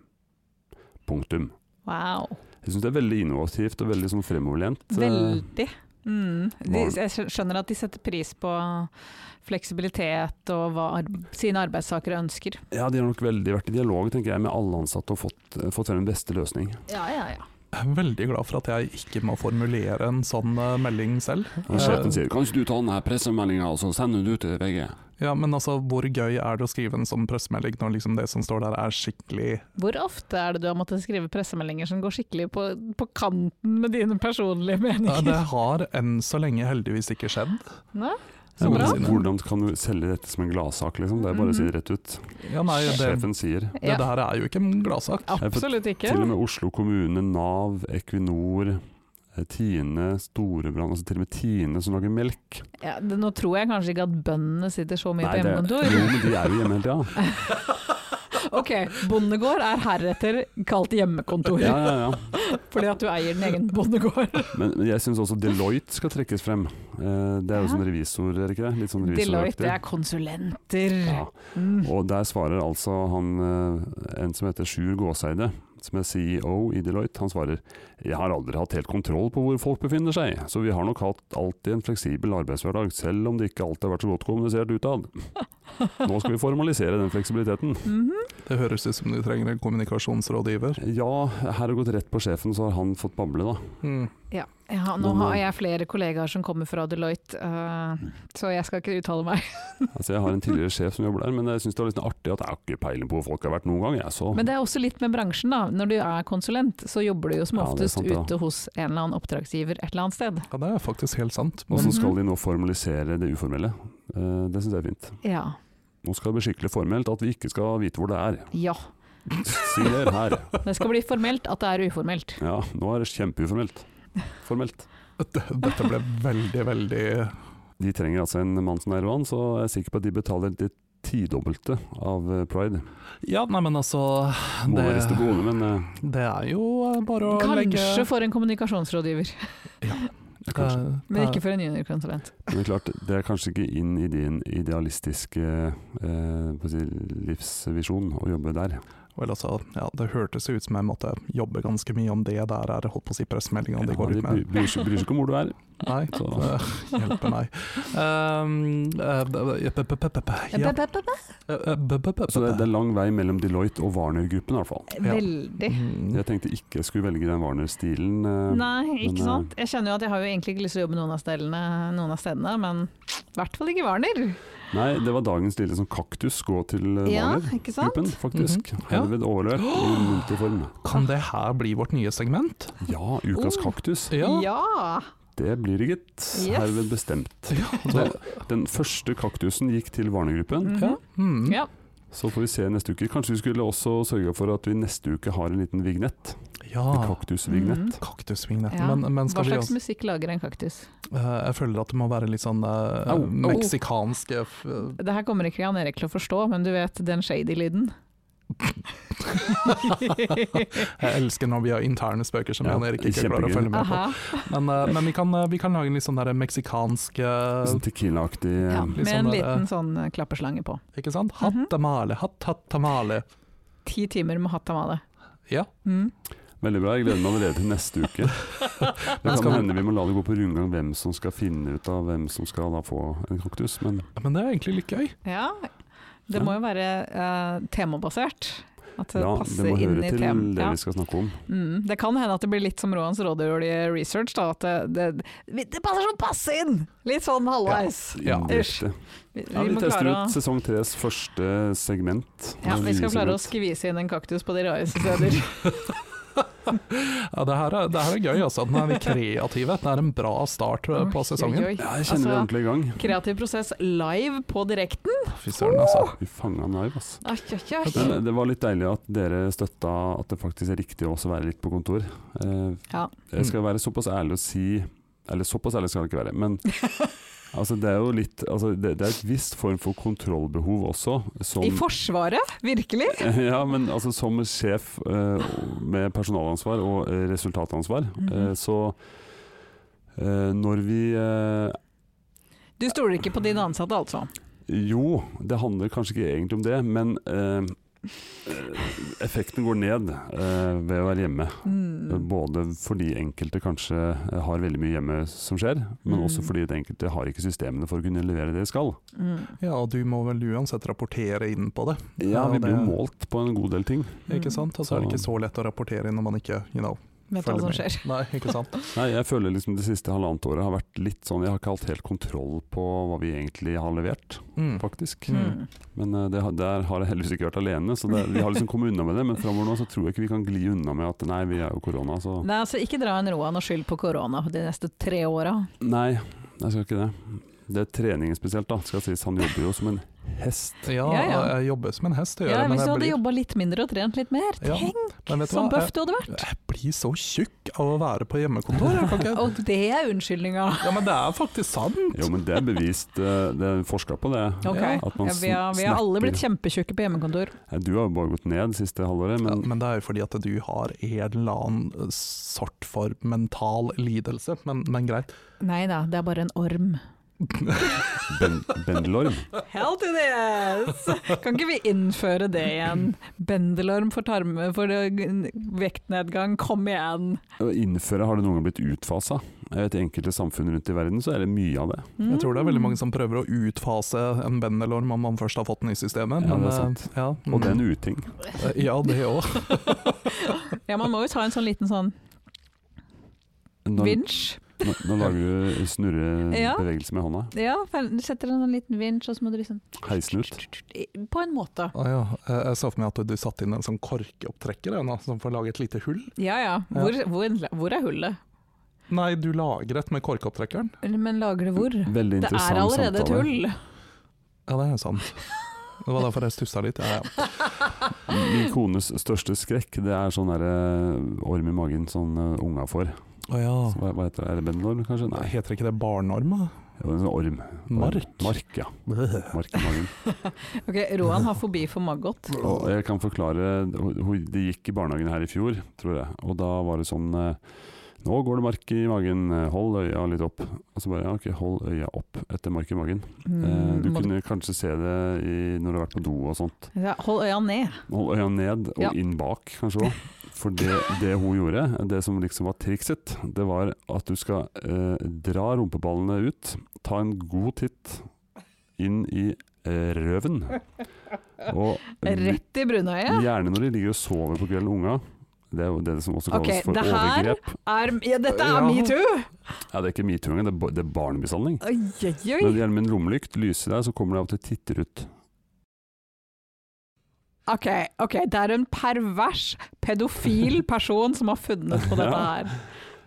[SPEAKER 1] Punktum.
[SPEAKER 2] Wow.
[SPEAKER 1] Jeg syns det er veldig innovativt og veldig sånn fremoverlent. eh,
[SPEAKER 2] Veldig. Mm. De,
[SPEAKER 1] Var-
[SPEAKER 2] jeg skjø- skjønner at de setter pris på fleksibilitet og hva ar sine arbeidstakere ønsker.
[SPEAKER 1] Ja, De har nok veldig vært i dialog tenker jeg, med alle ansatte og fått, eh, fått frem den beste løsning.
[SPEAKER 2] Ja, ja, ja.
[SPEAKER 3] Jeg er veldig glad for at jeg ikke må formulere en sånn eh, melding selv.
[SPEAKER 1] Og
[SPEAKER 3] Eh,
[SPEAKER 1] Sjefen sier kan ikke du ta denne pressemeldinga og så sende den ut til VG?
[SPEAKER 3] Ja, men altså, hvor gøy er det å skrive en sånn pressemelding når liksom det som står der er skikkelig
[SPEAKER 2] Hvor ofte er det du har måttet skrive pressemeldinger som går skikkelig på, på kanten med dine personlige
[SPEAKER 3] ja,
[SPEAKER 2] meninger?
[SPEAKER 3] Det har enn så lenge heldigvis ikke skjedd.
[SPEAKER 2] Nei?
[SPEAKER 3] Så
[SPEAKER 1] Ja, men
[SPEAKER 3] bra.
[SPEAKER 1] altså, Hvordan kan du selge dette som en gladsak? Liksom? Det er bare å si det rett ut.
[SPEAKER 3] Ja, nei, det, det,
[SPEAKER 1] Sjefen sier.
[SPEAKER 2] Ja.
[SPEAKER 3] det her er jo ikke en gladsak.
[SPEAKER 2] Absolutt ikke.
[SPEAKER 1] Til og med Oslo kommune, Nav, Equinor, eh, Tine, Storebrand altså Til og med Tine som lager melk.
[SPEAKER 2] Ja, det, nå tror jeg kanskje ikke at bøndene sitter så mye på
[SPEAKER 1] det, jo,
[SPEAKER 2] hjemmekontor.
[SPEAKER 1] men de er Mm. jo hjemme hele
[SPEAKER 3] <laughs>
[SPEAKER 1] tida.
[SPEAKER 2] Ok, bondegård er heretter kalt hjemmekontor,
[SPEAKER 1] Ja, ja, ja.
[SPEAKER 2] fordi at du eier din egen bondegård.
[SPEAKER 1] Men, men jeg syns også Deloitte skal trekkes frem. Eh, Det er jo
[SPEAKER 2] Ja.
[SPEAKER 1] sånn revisor, er det ikke det? Litt sånn
[SPEAKER 2] Deloitte, det
[SPEAKER 1] revisoraktig.
[SPEAKER 2] er konsulenter.
[SPEAKER 1] Ja.
[SPEAKER 2] Mm.
[SPEAKER 1] Og der svarer altså han, eh, en som heter Sjur Gåseide, som er CEO i Deloitte, han svarer Jeg har aldri hatt helt kontroll på hvor folk befinner seg, så vi har nok hatt alltid en fleksibel arbeidshverdag, selv om det ikke alltid har vært så godt kommunisert
[SPEAKER 2] <laughs>
[SPEAKER 1] utad. Nå skal vi formalisere den fleksibiliteten.
[SPEAKER 2] Mhm.
[SPEAKER 3] Det høres ut som du trenger en kommunikasjonsrådgiver.
[SPEAKER 1] Ja, her har det gått rett på sjefen, så har han fått bable, da.
[SPEAKER 3] Hmm.
[SPEAKER 2] ja. ja, nå
[SPEAKER 1] Men,
[SPEAKER 2] har
[SPEAKER 1] eh,
[SPEAKER 2] jeg flere kollegaer som kommer fra Deloitte, eh, så jeg skal ikke uttale meg.
[SPEAKER 1] Altså, jeg har en tidligere sjef som jobber der, men jeg syns det var litt sånn artig at jeg har ikke peiling på hvor folk har vært noen gang, jeg, så
[SPEAKER 2] Men det er også litt med bransjen, da. Når du er konsulent, så jobber du jo som
[SPEAKER 1] Ja, det er
[SPEAKER 2] oftest
[SPEAKER 1] sant, ja.
[SPEAKER 2] ute hos en eller annen oppdragsgiver et eller annet sted.
[SPEAKER 3] Ja, det er faktisk helt sant.
[SPEAKER 1] Og så
[SPEAKER 3] Men
[SPEAKER 1] skal de nå formalisere det uformelle. Eh, Det syns jeg er fint.
[SPEAKER 2] Ja.
[SPEAKER 1] Nå skal det bli skikkelig formelt at vi ikke skal vite hvor det er.
[SPEAKER 2] ja.
[SPEAKER 1] Signer her.
[SPEAKER 2] <laughs> Det skal bli formelt at det er uformelt.
[SPEAKER 1] Ja, nå er det kjempeuformelt. Formelt.
[SPEAKER 3] d- dette ble veldig, veldig
[SPEAKER 1] De trenger altså en mann som Erwan, så jeg er sikker på at de betaler det tidobbelte av eh, Pride.
[SPEAKER 3] Ja, nei, men altså
[SPEAKER 1] Må
[SPEAKER 3] Det-
[SPEAKER 1] være riste på hodet, men eh,
[SPEAKER 3] Det er jo eh, bare å legge
[SPEAKER 2] Kanskje for en kommunikasjonsrådgiver,
[SPEAKER 1] kanskje.
[SPEAKER 3] Eh,
[SPEAKER 2] men
[SPEAKER 3] eh,
[SPEAKER 2] ikke for en juniorkonsulent.
[SPEAKER 1] Men det er klart, det er kanskje ikke inn i din idealistiske eh, hva skal jeg si, livsvisjon å jobbe der.
[SPEAKER 3] Vel, altså, ja, det hørtes jo ut som jeg måtte jobbe ganske mye om det der er holdt på å si pressemeldinga
[SPEAKER 1] Ja,
[SPEAKER 3] de
[SPEAKER 1] de
[SPEAKER 3] går ut
[SPEAKER 1] bryr,
[SPEAKER 3] med.
[SPEAKER 1] bryr, seg- bryr seg ikke om hvor du er.
[SPEAKER 3] Nei,
[SPEAKER 1] Så.
[SPEAKER 3] eh, hjelpe meg. Um, eh, b- b- b- b- b- b-
[SPEAKER 2] Be-
[SPEAKER 3] ja,
[SPEAKER 2] be- be- be.
[SPEAKER 3] eh, eh, b- b- b-
[SPEAKER 1] Så det, det
[SPEAKER 3] b-
[SPEAKER 1] er lang vei mellom Deloitte og Warner-gruppen, i hvert fall.
[SPEAKER 2] Veldig.
[SPEAKER 3] Mm,
[SPEAKER 1] Jeg tenkte ikke jeg skulle velge den Warner-stilen. eh,
[SPEAKER 2] Nei,
[SPEAKER 1] men,
[SPEAKER 2] ikke
[SPEAKER 1] eh,
[SPEAKER 2] sant. Jeg kjenner jo at jeg har jo egentlig ikke lyst til å jobbe noen av stedene, noen av stedene men i hvert fall ikke Warner.
[SPEAKER 1] Nei, det var dagens lille sånn kaktus gå til eh,
[SPEAKER 2] Ja,
[SPEAKER 1] Warner.
[SPEAKER 2] ikke sant?
[SPEAKER 1] gruppen, faktisk.
[SPEAKER 3] Mhm. Ja.
[SPEAKER 1] Herved overlevert i
[SPEAKER 2] <gasps>
[SPEAKER 1] multiform.
[SPEAKER 3] Kan det her bli vårt nye segment?
[SPEAKER 1] Ja, ukas
[SPEAKER 2] Oh.
[SPEAKER 1] kaktus.
[SPEAKER 2] Ja.
[SPEAKER 1] Det blir det, gitt. Herved bestemt.
[SPEAKER 3] Ja,
[SPEAKER 1] Så
[SPEAKER 3] det-
[SPEAKER 1] den første kaktusen gikk til Varnegruppen.
[SPEAKER 2] Mhm.
[SPEAKER 3] mm.
[SPEAKER 2] ja.
[SPEAKER 1] Så får vi se neste uke. Kanskje vi skulle også sørge for at vi neste uke har en liten vignett. En
[SPEAKER 3] ja.
[SPEAKER 2] Mm.
[SPEAKER 1] kaktusvignett.
[SPEAKER 3] Kaktusvignetten.
[SPEAKER 2] Ja.
[SPEAKER 3] Men, men skal
[SPEAKER 2] Hva
[SPEAKER 3] vi
[SPEAKER 2] slags
[SPEAKER 3] også
[SPEAKER 2] musikk lager en kaktus?
[SPEAKER 3] Eh, Jeg føler at det må være litt sånn eh,
[SPEAKER 1] Au, au.
[SPEAKER 3] <laughs> meksikansk eh, f-
[SPEAKER 2] <laughs> Det her kommer ikke Jan Erik til å forstå, men du vet den shady lyden?
[SPEAKER 3] Jeg elsker når vi har interne spøker som
[SPEAKER 1] Ja,
[SPEAKER 3] Jan Erik ikke klarer å
[SPEAKER 1] kjempegøy.
[SPEAKER 3] følge med på.
[SPEAKER 2] Aha.
[SPEAKER 3] Men, eh, men vi, kan, eh, vi kan lage en litt sånn der meksikansk eh,
[SPEAKER 1] Sånn Tequila-aktig eh,
[SPEAKER 2] Ja, med en
[SPEAKER 3] sånn der, eh,
[SPEAKER 2] liten sånn eh, klapperslange på.
[SPEAKER 3] Ikke sant?
[SPEAKER 2] Mhm.
[SPEAKER 3] Hattamale, hatt-hattamale.
[SPEAKER 2] Ti timer med hatt av det.
[SPEAKER 3] Ja.
[SPEAKER 2] Mm.
[SPEAKER 1] Veldig bra. Jeg gleder meg allerede til neste
[SPEAKER 2] <laughs>
[SPEAKER 1] uke. Det
[SPEAKER 3] skal-
[SPEAKER 1] kan hende vi må la det gå på rundgang hvem som skal finne ut av hvem som skal da få en kaktus. Men
[SPEAKER 3] Men det er egentlig litt gøy.
[SPEAKER 2] Ja. Det
[SPEAKER 1] Ja.
[SPEAKER 2] må jo være eh, temabasert. At det
[SPEAKER 1] ja, det
[SPEAKER 2] passer
[SPEAKER 1] må
[SPEAKER 2] inn
[SPEAKER 1] høre
[SPEAKER 2] i
[SPEAKER 1] til
[SPEAKER 2] tem.
[SPEAKER 1] det
[SPEAKER 2] Ja.
[SPEAKER 1] vi skal snakke om.
[SPEAKER 2] Mm. Det kan hende at det blir litt som Roans rådyrlige research. Da, at det, det, vi- det passer sånn passe inn! Litt sånn halvveis.
[SPEAKER 3] Ja.
[SPEAKER 1] Indirekte.
[SPEAKER 2] Vi,
[SPEAKER 1] Ja, vi
[SPEAKER 2] må
[SPEAKER 1] tester
[SPEAKER 2] klare å-
[SPEAKER 1] ut sesong tres første segment.
[SPEAKER 2] ja, vi skal klare å
[SPEAKER 1] Segment.
[SPEAKER 2] skvise inn en kaktus på de
[SPEAKER 3] <laughs>
[SPEAKER 2] rareste steder.
[SPEAKER 3] Ja, det, her er, det her er gøy, altså. Nå er vi kreative. Det er en bra start eh, på sesongen.
[SPEAKER 2] Oi, oi, oi.
[SPEAKER 1] Ja, jeg kjenner vi er
[SPEAKER 2] Altså,
[SPEAKER 1] ordentlig i gang.
[SPEAKER 2] Kreativ prosess live på direkten.
[SPEAKER 3] Fy søren, altså.
[SPEAKER 1] Vi fanga den live, ass.
[SPEAKER 2] Ai, ai, ai.
[SPEAKER 1] Men det var litt deilig at dere støtta at det faktisk er riktig å også være litt på kontor. Eh,
[SPEAKER 2] Ja.
[SPEAKER 1] Jeg
[SPEAKER 2] Mm.
[SPEAKER 1] skal være såpass ærlig å si Eller såpass ærlig skal jeg ikke være,
[SPEAKER 2] <laughs>
[SPEAKER 1] men altså, det er jo litt altså, det, det er et visst form for kontrollbehov også. Som,
[SPEAKER 2] I
[SPEAKER 3] Sånn.
[SPEAKER 2] Forsvaret, virkelig?
[SPEAKER 1] <laughs> ja, men altså, som sjef eh, med personalansvar og eh, resultatansvar, eh,
[SPEAKER 2] Mhm.
[SPEAKER 1] så eh, når vi eh,
[SPEAKER 2] Du stoler ikke på dine ansatte, altså?
[SPEAKER 1] Jo, det handler kanskje ikke egentlig om det, men eh, eh, effekten går ned eh, ved å være hjemme.
[SPEAKER 2] Mm.
[SPEAKER 1] Både fordi enkelte kanskje eh, har veldig mye hjemme som skjer, men
[SPEAKER 2] Mm.
[SPEAKER 1] også fordi det enkelte har ikke systemene for å kunne levere det de skal.
[SPEAKER 2] Mm.
[SPEAKER 3] Ja, og du må vel uansett rapportere inn på det,
[SPEAKER 1] Ja,
[SPEAKER 3] Ja,
[SPEAKER 1] Vi
[SPEAKER 3] det-
[SPEAKER 1] blir jo målt på en god del ting.
[SPEAKER 3] ikke sant? Og så er det ikke
[SPEAKER 1] Så-
[SPEAKER 3] så lett å rapportere inn når man ikke you know,
[SPEAKER 2] Mm. Vet hva
[SPEAKER 3] følger
[SPEAKER 2] som
[SPEAKER 3] med.
[SPEAKER 2] skjer.
[SPEAKER 3] Nei, ikke sant?
[SPEAKER 1] Nei, Jeg føler liksom det siste halvannet året har vært litt sånn Jeg har ikke hatt helt kontroll på hva vi egentlig har levert,
[SPEAKER 3] Mm.
[SPEAKER 1] faktisk.
[SPEAKER 2] Mm.
[SPEAKER 1] Men eh, det, har- der har jeg heldigvis ikke vært alene, så det, vi har liksom kommet unna med det. Men framover nå så tror jeg ikke vi kan gli unna med at nei, vi er jo korona, så
[SPEAKER 2] Nei, altså Ikke dra en Roan og skyld på korona de neste tre åra.
[SPEAKER 1] Nei, jeg skal ikke det. Det er treningen spesielt, da. Skal sies, han jobber jo som en hest.
[SPEAKER 3] Ja,
[SPEAKER 2] Ja, ja.
[SPEAKER 3] jeg jobber som en hest, det gjør
[SPEAKER 2] Ja,
[SPEAKER 3] jeg, men
[SPEAKER 2] hvis du
[SPEAKER 3] jeg
[SPEAKER 2] hadde
[SPEAKER 3] blir,
[SPEAKER 2] jobba litt mindre og trent litt mer,
[SPEAKER 3] Ja,
[SPEAKER 2] tenk
[SPEAKER 3] men vet du
[SPEAKER 2] så
[SPEAKER 3] hva,
[SPEAKER 2] bøff du hadde vært!
[SPEAKER 3] jeg blir så tjukk av å være på hjemmekontor. Jeg kan ikke,
[SPEAKER 2] Og det er unnskyldninga!
[SPEAKER 3] ja, men det er faktisk sant!
[SPEAKER 1] Jo, men det er bevist. eh, Det er forska på det.
[SPEAKER 2] Ok,
[SPEAKER 3] Ja,
[SPEAKER 2] ja,
[SPEAKER 1] at man
[SPEAKER 2] vi, har, vi har alle
[SPEAKER 1] snakker.
[SPEAKER 2] blitt kjempetjukke på hjemmekontor.
[SPEAKER 1] Eh, Du har jo bare gått ned siste halvåret,
[SPEAKER 3] Men, ja,
[SPEAKER 1] men
[SPEAKER 3] men det er jo fordi at du har en eller annen eh, sort for mental lidelse, men, men greit. <laughs>
[SPEAKER 2] Nei da, det er bare en orm.
[SPEAKER 1] ben, bendelorm
[SPEAKER 2] Hell to this! Kan ikke vi innføre det igjen? Bendelorm for tarme for eh, vektnedgang, kom igjen!
[SPEAKER 1] Å innføre har det noen gang blitt utfasa. I enkelte samfunn rundt i verden så er det mye av det.
[SPEAKER 3] Jeg tror det er veldig
[SPEAKER 2] Mm.
[SPEAKER 3] mange som prøver å utfase en bendelorm om man først har fått den i systemet.
[SPEAKER 1] Ja,
[SPEAKER 3] men,
[SPEAKER 1] det er sant.
[SPEAKER 3] eh, Ja,
[SPEAKER 1] Og det er
[SPEAKER 3] mm,
[SPEAKER 1] en uting.
[SPEAKER 3] eh, Ja, det òg.
[SPEAKER 2] Ja, man må jo ta en sånn liten sånn
[SPEAKER 1] Nå,
[SPEAKER 2] vinsj.
[SPEAKER 1] nå, nå lager du
[SPEAKER 2] Ja.
[SPEAKER 1] snurrebevegelser med hånda.
[SPEAKER 2] Ja, du setter en sånn liten vinsj, og så må du liksom
[SPEAKER 1] Heisen ut.
[SPEAKER 2] På en måte.
[SPEAKER 3] <laughs> Ah, ja. eh, Jeg så for meg at du satte inn en sånn korkeopptrekker jeg, nå, som får lage et lite hull.
[SPEAKER 2] Ja ja, hvor, hvor, hvor er hullet?
[SPEAKER 3] Nei, du lager et med korkopptrekkeren.
[SPEAKER 2] Men lager det hvor?
[SPEAKER 1] Veldig
[SPEAKER 2] Det er
[SPEAKER 1] interessant
[SPEAKER 2] allerede et
[SPEAKER 1] samtale.
[SPEAKER 2] hull.
[SPEAKER 3] Ja, det er jo sant. Det var derfor jeg stussa litt. Ja, ja.
[SPEAKER 1] Min kones største skrekk, det er sånn derre orm i magen sånn eh, unga får.
[SPEAKER 3] Å ja.
[SPEAKER 1] Så Hva, hva heter det? Er det bendelorm, kanskje? Nei,
[SPEAKER 3] Heter ikke det barnorm? da?
[SPEAKER 1] det var en sånn orm.
[SPEAKER 3] Mark?
[SPEAKER 1] Mark, ja. Mark i magen.
[SPEAKER 2] <laughs> Ok, Roan har fobi for maggot.
[SPEAKER 1] Og jeg kan forklare hun- hun- Det gikk i barnehagen her i fjor, tror jeg. Og da var det sånn eh, Nå går det mark i magen, eh, hold øya litt opp. Og så bare ja, ok, hold øya opp etter mark i magen. Eh, Du
[SPEAKER 2] Mm, må du-
[SPEAKER 1] kunne kanskje se det i, når du har vært på do og sånt.
[SPEAKER 2] Ja, Hold øya ned.
[SPEAKER 1] Hold øya ned og
[SPEAKER 2] Ja.
[SPEAKER 1] inn bak, kanskje òg. For det, det hun gjorde, det som liksom var trikset, det var at du skal eh, dra rumpeballene ut, ta en god titt inn i eh, røven.
[SPEAKER 2] <laughs>
[SPEAKER 1] Og
[SPEAKER 2] Rett i brunøyet.
[SPEAKER 1] gjerne når de ligger og sover på kvelden, unga. Det er jo det som også kalles
[SPEAKER 2] Ok,
[SPEAKER 1] for
[SPEAKER 2] det her-
[SPEAKER 1] overgrep.
[SPEAKER 2] Er, ja, dette er
[SPEAKER 3] Ja.
[SPEAKER 2] metoo!
[SPEAKER 1] Ja, det er ikke metoo engang, det er, ba- det er barnemishandling.
[SPEAKER 2] Oi, oi, oi.
[SPEAKER 1] Når det gjelder min lommelykt, lyser der, så kommer det av og til titter ut.
[SPEAKER 2] Ok, ok, det er en pervers, pedofil
[SPEAKER 1] <laughs>
[SPEAKER 2] person som har funnet på dette
[SPEAKER 1] Ja.
[SPEAKER 2] her.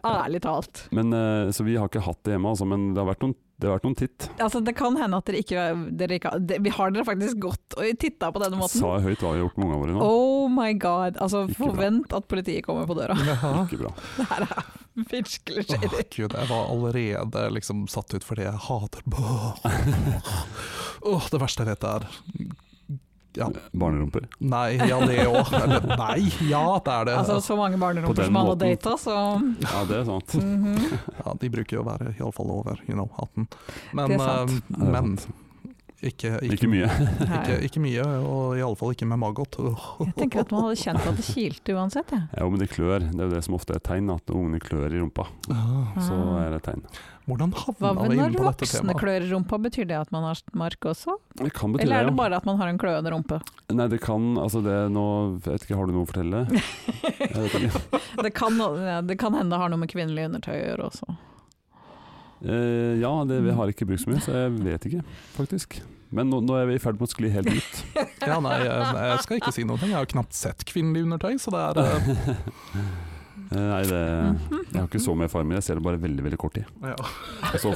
[SPEAKER 2] Ærlig talt.
[SPEAKER 1] Men, eh, så vi har ikke hatt det hjemme, altså, men det har vært noen, det har vært noen titt.
[SPEAKER 2] Altså, det kan hende at dere ikke, dere ikke det, Vi har dere faktisk gått og titta på denne måten.
[SPEAKER 1] Sa jeg høyt hva vi har gjort med ungene våre nå?
[SPEAKER 2] Oh my god. Altså,
[SPEAKER 1] Sånn, Ikke bra.
[SPEAKER 2] forvent at politiet kommer på døra.
[SPEAKER 1] <laughs>
[SPEAKER 3] Ja.
[SPEAKER 1] Ikke bra.
[SPEAKER 2] Det her er virkelig
[SPEAKER 3] Åh,
[SPEAKER 2] shady.
[SPEAKER 3] Gud, jeg var allerede liksom
[SPEAKER 1] <laughs>
[SPEAKER 3] satt ut fordi jeg hater Åh, det verste jeg vet er Ja.
[SPEAKER 1] Barnerumper.
[SPEAKER 3] Nei, ja det òg. Nei, ja det er det.
[SPEAKER 2] Altså så mange
[SPEAKER 1] På
[SPEAKER 2] barnerumper
[SPEAKER 1] den
[SPEAKER 2] som han har
[SPEAKER 1] måten.
[SPEAKER 2] data, så
[SPEAKER 1] Ja, det er
[SPEAKER 2] <laughs>
[SPEAKER 1] sant.
[SPEAKER 2] mhm.
[SPEAKER 3] Ja, de bruker jo å være iallfall over you know, 18. Men,
[SPEAKER 2] Det er sant.
[SPEAKER 3] eh, men ikke,
[SPEAKER 1] Ikke mye.
[SPEAKER 3] Ikke, ikke mye, og iallfall ikke med Maggot.
[SPEAKER 2] Jeg tenker at man hadde kjent at det kilte uansett, jeg.
[SPEAKER 1] Ja, men det klør. Det er jo det som ofte er et tegn, at ungene klør i rumpa. Så
[SPEAKER 2] Ah.
[SPEAKER 1] er det et tegn.
[SPEAKER 3] Hvordan
[SPEAKER 2] Hva
[SPEAKER 3] havna
[SPEAKER 2] med
[SPEAKER 3] vi
[SPEAKER 2] når
[SPEAKER 3] inn på dette
[SPEAKER 2] voksne
[SPEAKER 3] temaet?
[SPEAKER 2] klør i rumpa, betyr det at man har mark også?
[SPEAKER 1] Det kan bety
[SPEAKER 2] Eller er
[SPEAKER 1] det,
[SPEAKER 2] det
[SPEAKER 1] ja.
[SPEAKER 2] bare at man har en kløende <laughs> rumpe?
[SPEAKER 1] Nei, det kan Altså, det er nå Vet ikke, har du noe å fortelle?
[SPEAKER 2] <laughs>
[SPEAKER 1] Jeg vet ikke.
[SPEAKER 2] Det kan, ja, det kan hende det har noe med kvinnelig undertøy å gjøre også.
[SPEAKER 1] Eh, ja, det, vi har ikke brukt så mye, så jeg vet ikke, faktisk. Men nå, nå er vi i ferd med å skli helt
[SPEAKER 2] <laughs>
[SPEAKER 1] ut.
[SPEAKER 3] Ja, nei, jeg, jeg skal ikke si noe. Jeg har jo knapt sett kvinnelig undertøy, så det er
[SPEAKER 2] <laughs>
[SPEAKER 3] eh,
[SPEAKER 1] <laughs> Eh, Nei, det Jeg har ikke så mye erfaring med det, jeg ser det bare veldig, veldig
[SPEAKER 2] <laughs>
[SPEAKER 1] kort i.
[SPEAKER 3] ja.
[SPEAKER 1] Og så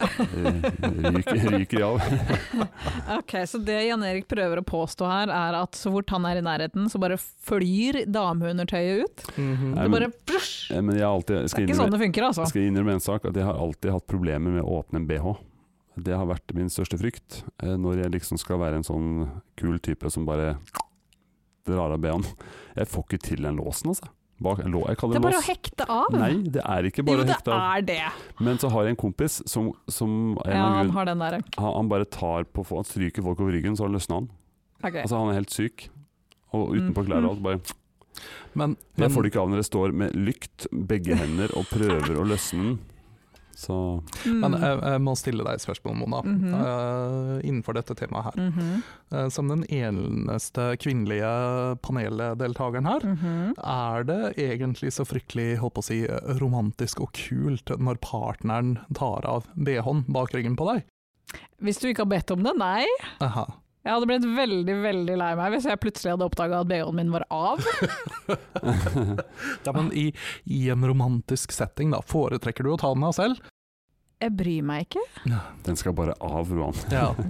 [SPEAKER 1] eh, ryker, ryker jeg av.
[SPEAKER 2] Ok, Så det Jan Erik prøver å påstå her, er at så fort han er i nærheten, så bare flyr dameundertøyet ut?
[SPEAKER 3] Mhm.
[SPEAKER 1] Nei,
[SPEAKER 2] Det
[SPEAKER 1] men-
[SPEAKER 2] bare brusj!
[SPEAKER 1] Eh, Men jeg har alltid jeg
[SPEAKER 2] Det er
[SPEAKER 1] skal
[SPEAKER 2] ikke sånn
[SPEAKER 1] innrømme,
[SPEAKER 2] det funker, altså.
[SPEAKER 1] jeg skal innrømme en sak, at jeg har alltid hatt problemer med å åpne en BH. Det har vært min største frykt, eh, når jeg liksom skal være en sånn kul type som bare drar av BH-en. Jeg får ikke til den låsen, altså. Bak, lå, jeg
[SPEAKER 2] Det
[SPEAKER 1] kaller
[SPEAKER 2] er
[SPEAKER 1] det
[SPEAKER 2] bare å
[SPEAKER 1] lås.
[SPEAKER 2] hekte av.
[SPEAKER 1] Nei, det er ikke
[SPEAKER 2] jo,
[SPEAKER 1] bare å
[SPEAKER 2] det
[SPEAKER 1] hekte av.
[SPEAKER 2] er det.
[SPEAKER 1] Men så har jeg en kompis som, som en
[SPEAKER 2] Ja,
[SPEAKER 1] av
[SPEAKER 2] han
[SPEAKER 1] grunn,
[SPEAKER 2] har den der.
[SPEAKER 1] han, han bare tar på Han stryker folk over ryggen, så løsner han.
[SPEAKER 2] Ok.
[SPEAKER 1] Altså, han er helt syk. Og utenpå
[SPEAKER 2] Mm.
[SPEAKER 1] klær og alt. Bare
[SPEAKER 3] Men,
[SPEAKER 1] Jeg
[SPEAKER 3] men
[SPEAKER 1] får det ikke av når jeg står med lykt, begge hender, og prøver å løsne den. Så <laughs>
[SPEAKER 2] Mm.
[SPEAKER 3] men jeg,
[SPEAKER 1] eh,
[SPEAKER 3] jeg må stille deg et spørsmål, Mona.
[SPEAKER 2] Mhm.
[SPEAKER 3] Eh, innenfor dette temaet her.
[SPEAKER 2] Mhm.
[SPEAKER 3] Eh, som den eneste kvinnelige paneldeltakeren her,
[SPEAKER 2] Mhm.
[SPEAKER 3] Er det egentlig så fryktelig holdt på å si, romantisk og kult når partneren tar av BH-en bak ryggen på deg?
[SPEAKER 2] Hvis du ikke har bedt om det, nei.
[SPEAKER 3] Aha.
[SPEAKER 2] Jeg hadde blitt veldig veldig lei meg hvis jeg plutselig hadde oppdaga at BH-en min var
[SPEAKER 1] <laughs>
[SPEAKER 2] av.
[SPEAKER 3] <laughs> Ja, men i, I en romantisk setting, da, foretrekker du å ta den av selv?
[SPEAKER 2] Jeg bryr meg ikke.
[SPEAKER 1] den skal bare av roen.
[SPEAKER 3] Ja.
[SPEAKER 1] <laughs>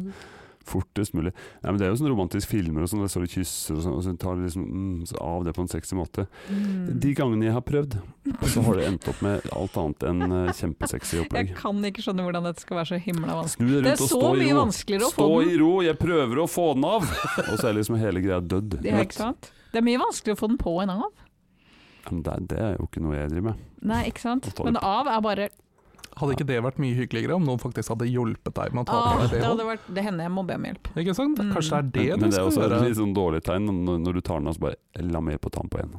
[SPEAKER 1] Fortest mulig. Nei, men det er jo sånne romantiske filmer og sånn, der står de og kysser og sånn, og så tar de liksom mm, så av det på en sexy måte.
[SPEAKER 2] Mm.
[SPEAKER 1] De gangene jeg har prøvd, så har det endt opp med alt annet enn eh, kjempesexy
[SPEAKER 2] Jeg
[SPEAKER 1] opplegg.
[SPEAKER 2] kan ikke skjønne hvordan dette skal være så himla vanskelig.
[SPEAKER 1] Snu deg
[SPEAKER 2] Det er
[SPEAKER 1] rundt og
[SPEAKER 2] så
[SPEAKER 1] stå i
[SPEAKER 2] mye
[SPEAKER 1] ro.
[SPEAKER 2] vanskeligere å
[SPEAKER 1] Stå
[SPEAKER 2] få
[SPEAKER 1] i
[SPEAKER 2] den.
[SPEAKER 1] ro, jeg prøver å få den av! <laughs> Og så er liksom hele greia dødd.
[SPEAKER 2] Ja, ikke sant? Det er mye vanskeligere å få den på enn av.
[SPEAKER 1] Men det, er- det er jo ikke noe jeg driver med.
[SPEAKER 2] Nei, ikke sant?
[SPEAKER 1] Og ta
[SPEAKER 2] Men
[SPEAKER 1] det
[SPEAKER 2] av er bare
[SPEAKER 3] Hadde ikke det vært mye hyggeligere om noen faktisk hadde hjulpet deg med å ta
[SPEAKER 2] ah,
[SPEAKER 3] av
[SPEAKER 2] Det
[SPEAKER 3] deg BH-en?
[SPEAKER 2] hadde vært Det hender jeg må be om hjelp.
[SPEAKER 3] Ikke sant?
[SPEAKER 2] Mm.
[SPEAKER 3] Kanskje det er
[SPEAKER 1] Men,
[SPEAKER 3] det du
[SPEAKER 1] men det er
[SPEAKER 3] skal
[SPEAKER 1] også et
[SPEAKER 3] gjøre?
[SPEAKER 1] litt sånn dårlig tegn når, når du tar den av, så bare la mer på tann på én.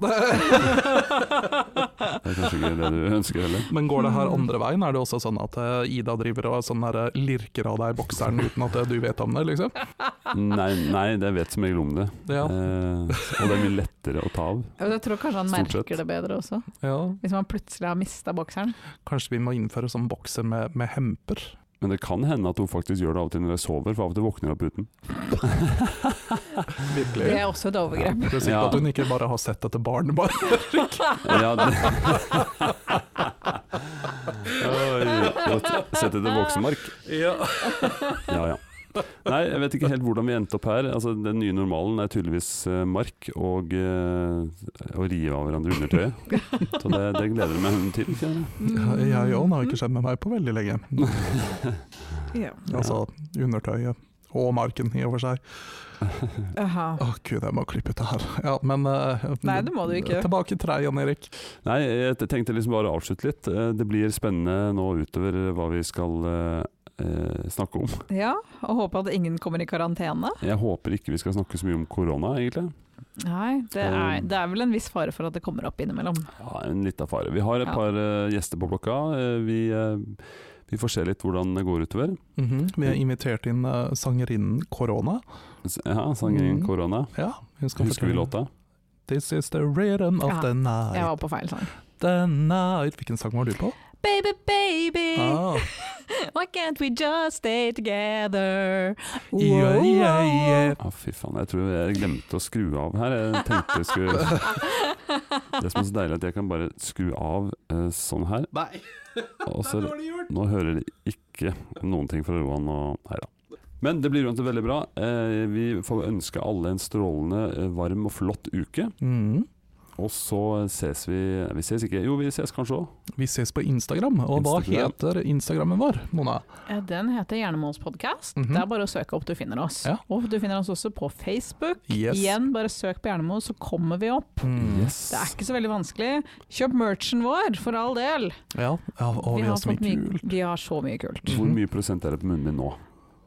[SPEAKER 1] Det er kanskje ikke det du ønsker heller.
[SPEAKER 3] <laughs> Men går det
[SPEAKER 2] Mm.
[SPEAKER 3] her andre veien? Er det også sånn at eh, Ida driver og sånn her, eh, lirker av deg bokseren uten at eh, du vet om det, liksom?
[SPEAKER 1] Nei, nei det vet som regel om det.
[SPEAKER 3] Ja.
[SPEAKER 1] Eh, og det er mye lettere å ta av.
[SPEAKER 2] Ja, men Jeg tror kanskje han
[SPEAKER 1] Stort sett.
[SPEAKER 2] merker det bedre også,
[SPEAKER 3] ja.
[SPEAKER 2] hvis man plutselig har mista bokseren.
[SPEAKER 3] Kanskje vi må innføre sånn bokser med, med hemper?
[SPEAKER 1] Men det kan hende at hun faktisk gjør det av og til når jeg sover, for av og til våkner jeg opp uten. <laughs>
[SPEAKER 3] Virkelig.
[SPEAKER 2] Det er også et overgrep.
[SPEAKER 3] Det er sikkert
[SPEAKER 1] Ja.
[SPEAKER 3] at hun ikke bare har sett dette barnet, bare.
[SPEAKER 1] Ja, det. <laughs> Oi, Sett etter voksenmark. Ja, ja. Nei, jeg vet ikke helt hvordan vi endte opp her. Altså, den nye normalen er tydeligvis eh, mark og eh, å rive av hverandre undertøyet. <laughs> Så det, det gleder jeg meg til. kjenner jeg.
[SPEAKER 3] Jeg òg, det har
[SPEAKER 2] Mm.
[SPEAKER 3] ikke skjedd med meg på veldig lenge.
[SPEAKER 2] Ja.
[SPEAKER 3] Altså undertøyet. Og marken, i og for seg.
[SPEAKER 2] Aha.
[SPEAKER 3] Å gud, jeg må klippe ut det her. Ja, men eh,
[SPEAKER 2] Nei, det må du ikke.
[SPEAKER 3] Tilbake til deg, Jan Erik.
[SPEAKER 1] <laughs> Nei, jeg t- tenkte liksom bare å avslutte litt. Eh, Det blir spennende nå utover hva vi skal eh, eh, snakke om.
[SPEAKER 2] Ja, og håpe at ingen kommer i karantene.
[SPEAKER 1] Jeg håper ikke vi skal snakke så mye om korona, egentlig.
[SPEAKER 2] Nei, det er,
[SPEAKER 1] Um.
[SPEAKER 2] det er vel en viss fare for at det kommer opp innimellom.
[SPEAKER 1] Ja, en liten fare. Vi har et
[SPEAKER 2] Ja.
[SPEAKER 1] par eh, gjester på blokka. Eh, Vi, eh, vi får se litt hvordan det går utover.
[SPEAKER 3] Mhm, Vi har invitert inn eh, sangerinnen Korona.
[SPEAKER 1] S- Ja, sangen
[SPEAKER 3] Mm.
[SPEAKER 1] Korona.
[SPEAKER 3] Ja, hun skal
[SPEAKER 1] Husker vi
[SPEAKER 3] fortelle-
[SPEAKER 1] låta?
[SPEAKER 3] This is the rhythm of
[SPEAKER 2] Ja,
[SPEAKER 3] the
[SPEAKER 2] Jeg
[SPEAKER 3] night.
[SPEAKER 2] var på feil sang.
[SPEAKER 3] The night. Hvilken sang var du på?
[SPEAKER 2] Baby, baby,
[SPEAKER 3] Ah,
[SPEAKER 2] why can't we just stay together?
[SPEAKER 3] yeah, yeah, yeah.
[SPEAKER 1] Ja, fy faen, jeg tror jeg glemte å skru av her. Jeg tenkte jeg skulle Det som er så deilig, er at jeg kan bare skru av eh, sånn her.
[SPEAKER 3] Nei,
[SPEAKER 1] Og så
[SPEAKER 3] dårlig gjort!
[SPEAKER 1] nå hører de ikke noen ting fra Roan og Nei da. Men det blir uansett veldig bra. Eh, vi får ønske alle en strålende eh, varm og flott uke.
[SPEAKER 3] Mm.
[SPEAKER 1] Og så ses vi Vi ses ikke Jo, vi ses kanskje òg.
[SPEAKER 3] Vi ses på Instagram, og hva
[SPEAKER 1] Instagram.
[SPEAKER 3] heter Instagrammen vår, Mona?
[SPEAKER 2] Ja, Den heter Hjernemålspodkast.
[SPEAKER 3] Mhm.
[SPEAKER 2] Det er bare å søke opp du finner oss.
[SPEAKER 3] Ja.
[SPEAKER 2] Og du finner oss også på Facebook.
[SPEAKER 3] Yes.
[SPEAKER 2] Igjen, bare søk på Hjernemål, så kommer vi opp.
[SPEAKER 3] Mm.
[SPEAKER 1] Yes.
[SPEAKER 2] Det er ikke så veldig vanskelig. Kjøp merchen vår, for all del.
[SPEAKER 3] Ja, ja, og vi, har så mye kult.
[SPEAKER 2] vi har så mye kult.
[SPEAKER 1] Hvor mye prosent er det på munnen din nå?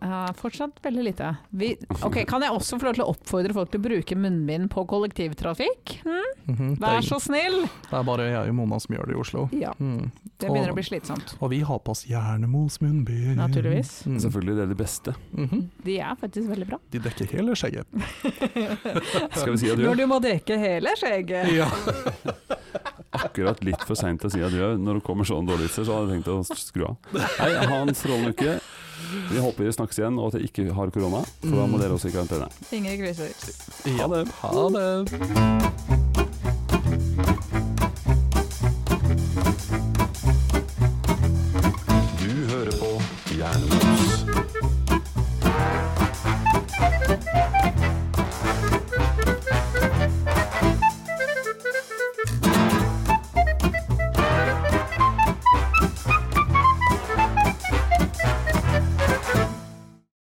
[SPEAKER 2] Eh, fortsatt veldig lite. Vi, ok, Kan jeg også få lov til å oppfordre folk til å bruke munnbind på kollektivtrafikk? Hm?
[SPEAKER 3] Mhm. Det,
[SPEAKER 2] Vær
[SPEAKER 3] er,
[SPEAKER 2] så snill!
[SPEAKER 3] det er bare jeg og Mona som gjør det i Oslo.
[SPEAKER 2] Ja,
[SPEAKER 3] Mm.
[SPEAKER 2] Det begynner å bli slitsomt.
[SPEAKER 3] Og vi har på oss Jernemos munnbind.
[SPEAKER 2] Naturligvis.
[SPEAKER 3] Mm.
[SPEAKER 1] <laughs> Selvfølgelig, det er det beste.
[SPEAKER 3] Mhm.
[SPEAKER 2] De er faktisk veldig bra.
[SPEAKER 3] De dekker hele skjegget.
[SPEAKER 1] Skal vi si adjø?
[SPEAKER 2] Når du må deke hele skjegget.
[SPEAKER 3] Ja.
[SPEAKER 1] Akkurat litt for seint til å si adjø når det kommer sånn dårligvitser, så hadde jeg tenkt å skru av. Hei, ha en strålende uke. Vi håper vi snakkes igjen, og at jeg ikke har korona. For da må dere også i karantene.
[SPEAKER 2] Ingrid Kriser.
[SPEAKER 1] Ha det.
[SPEAKER 3] Ha det.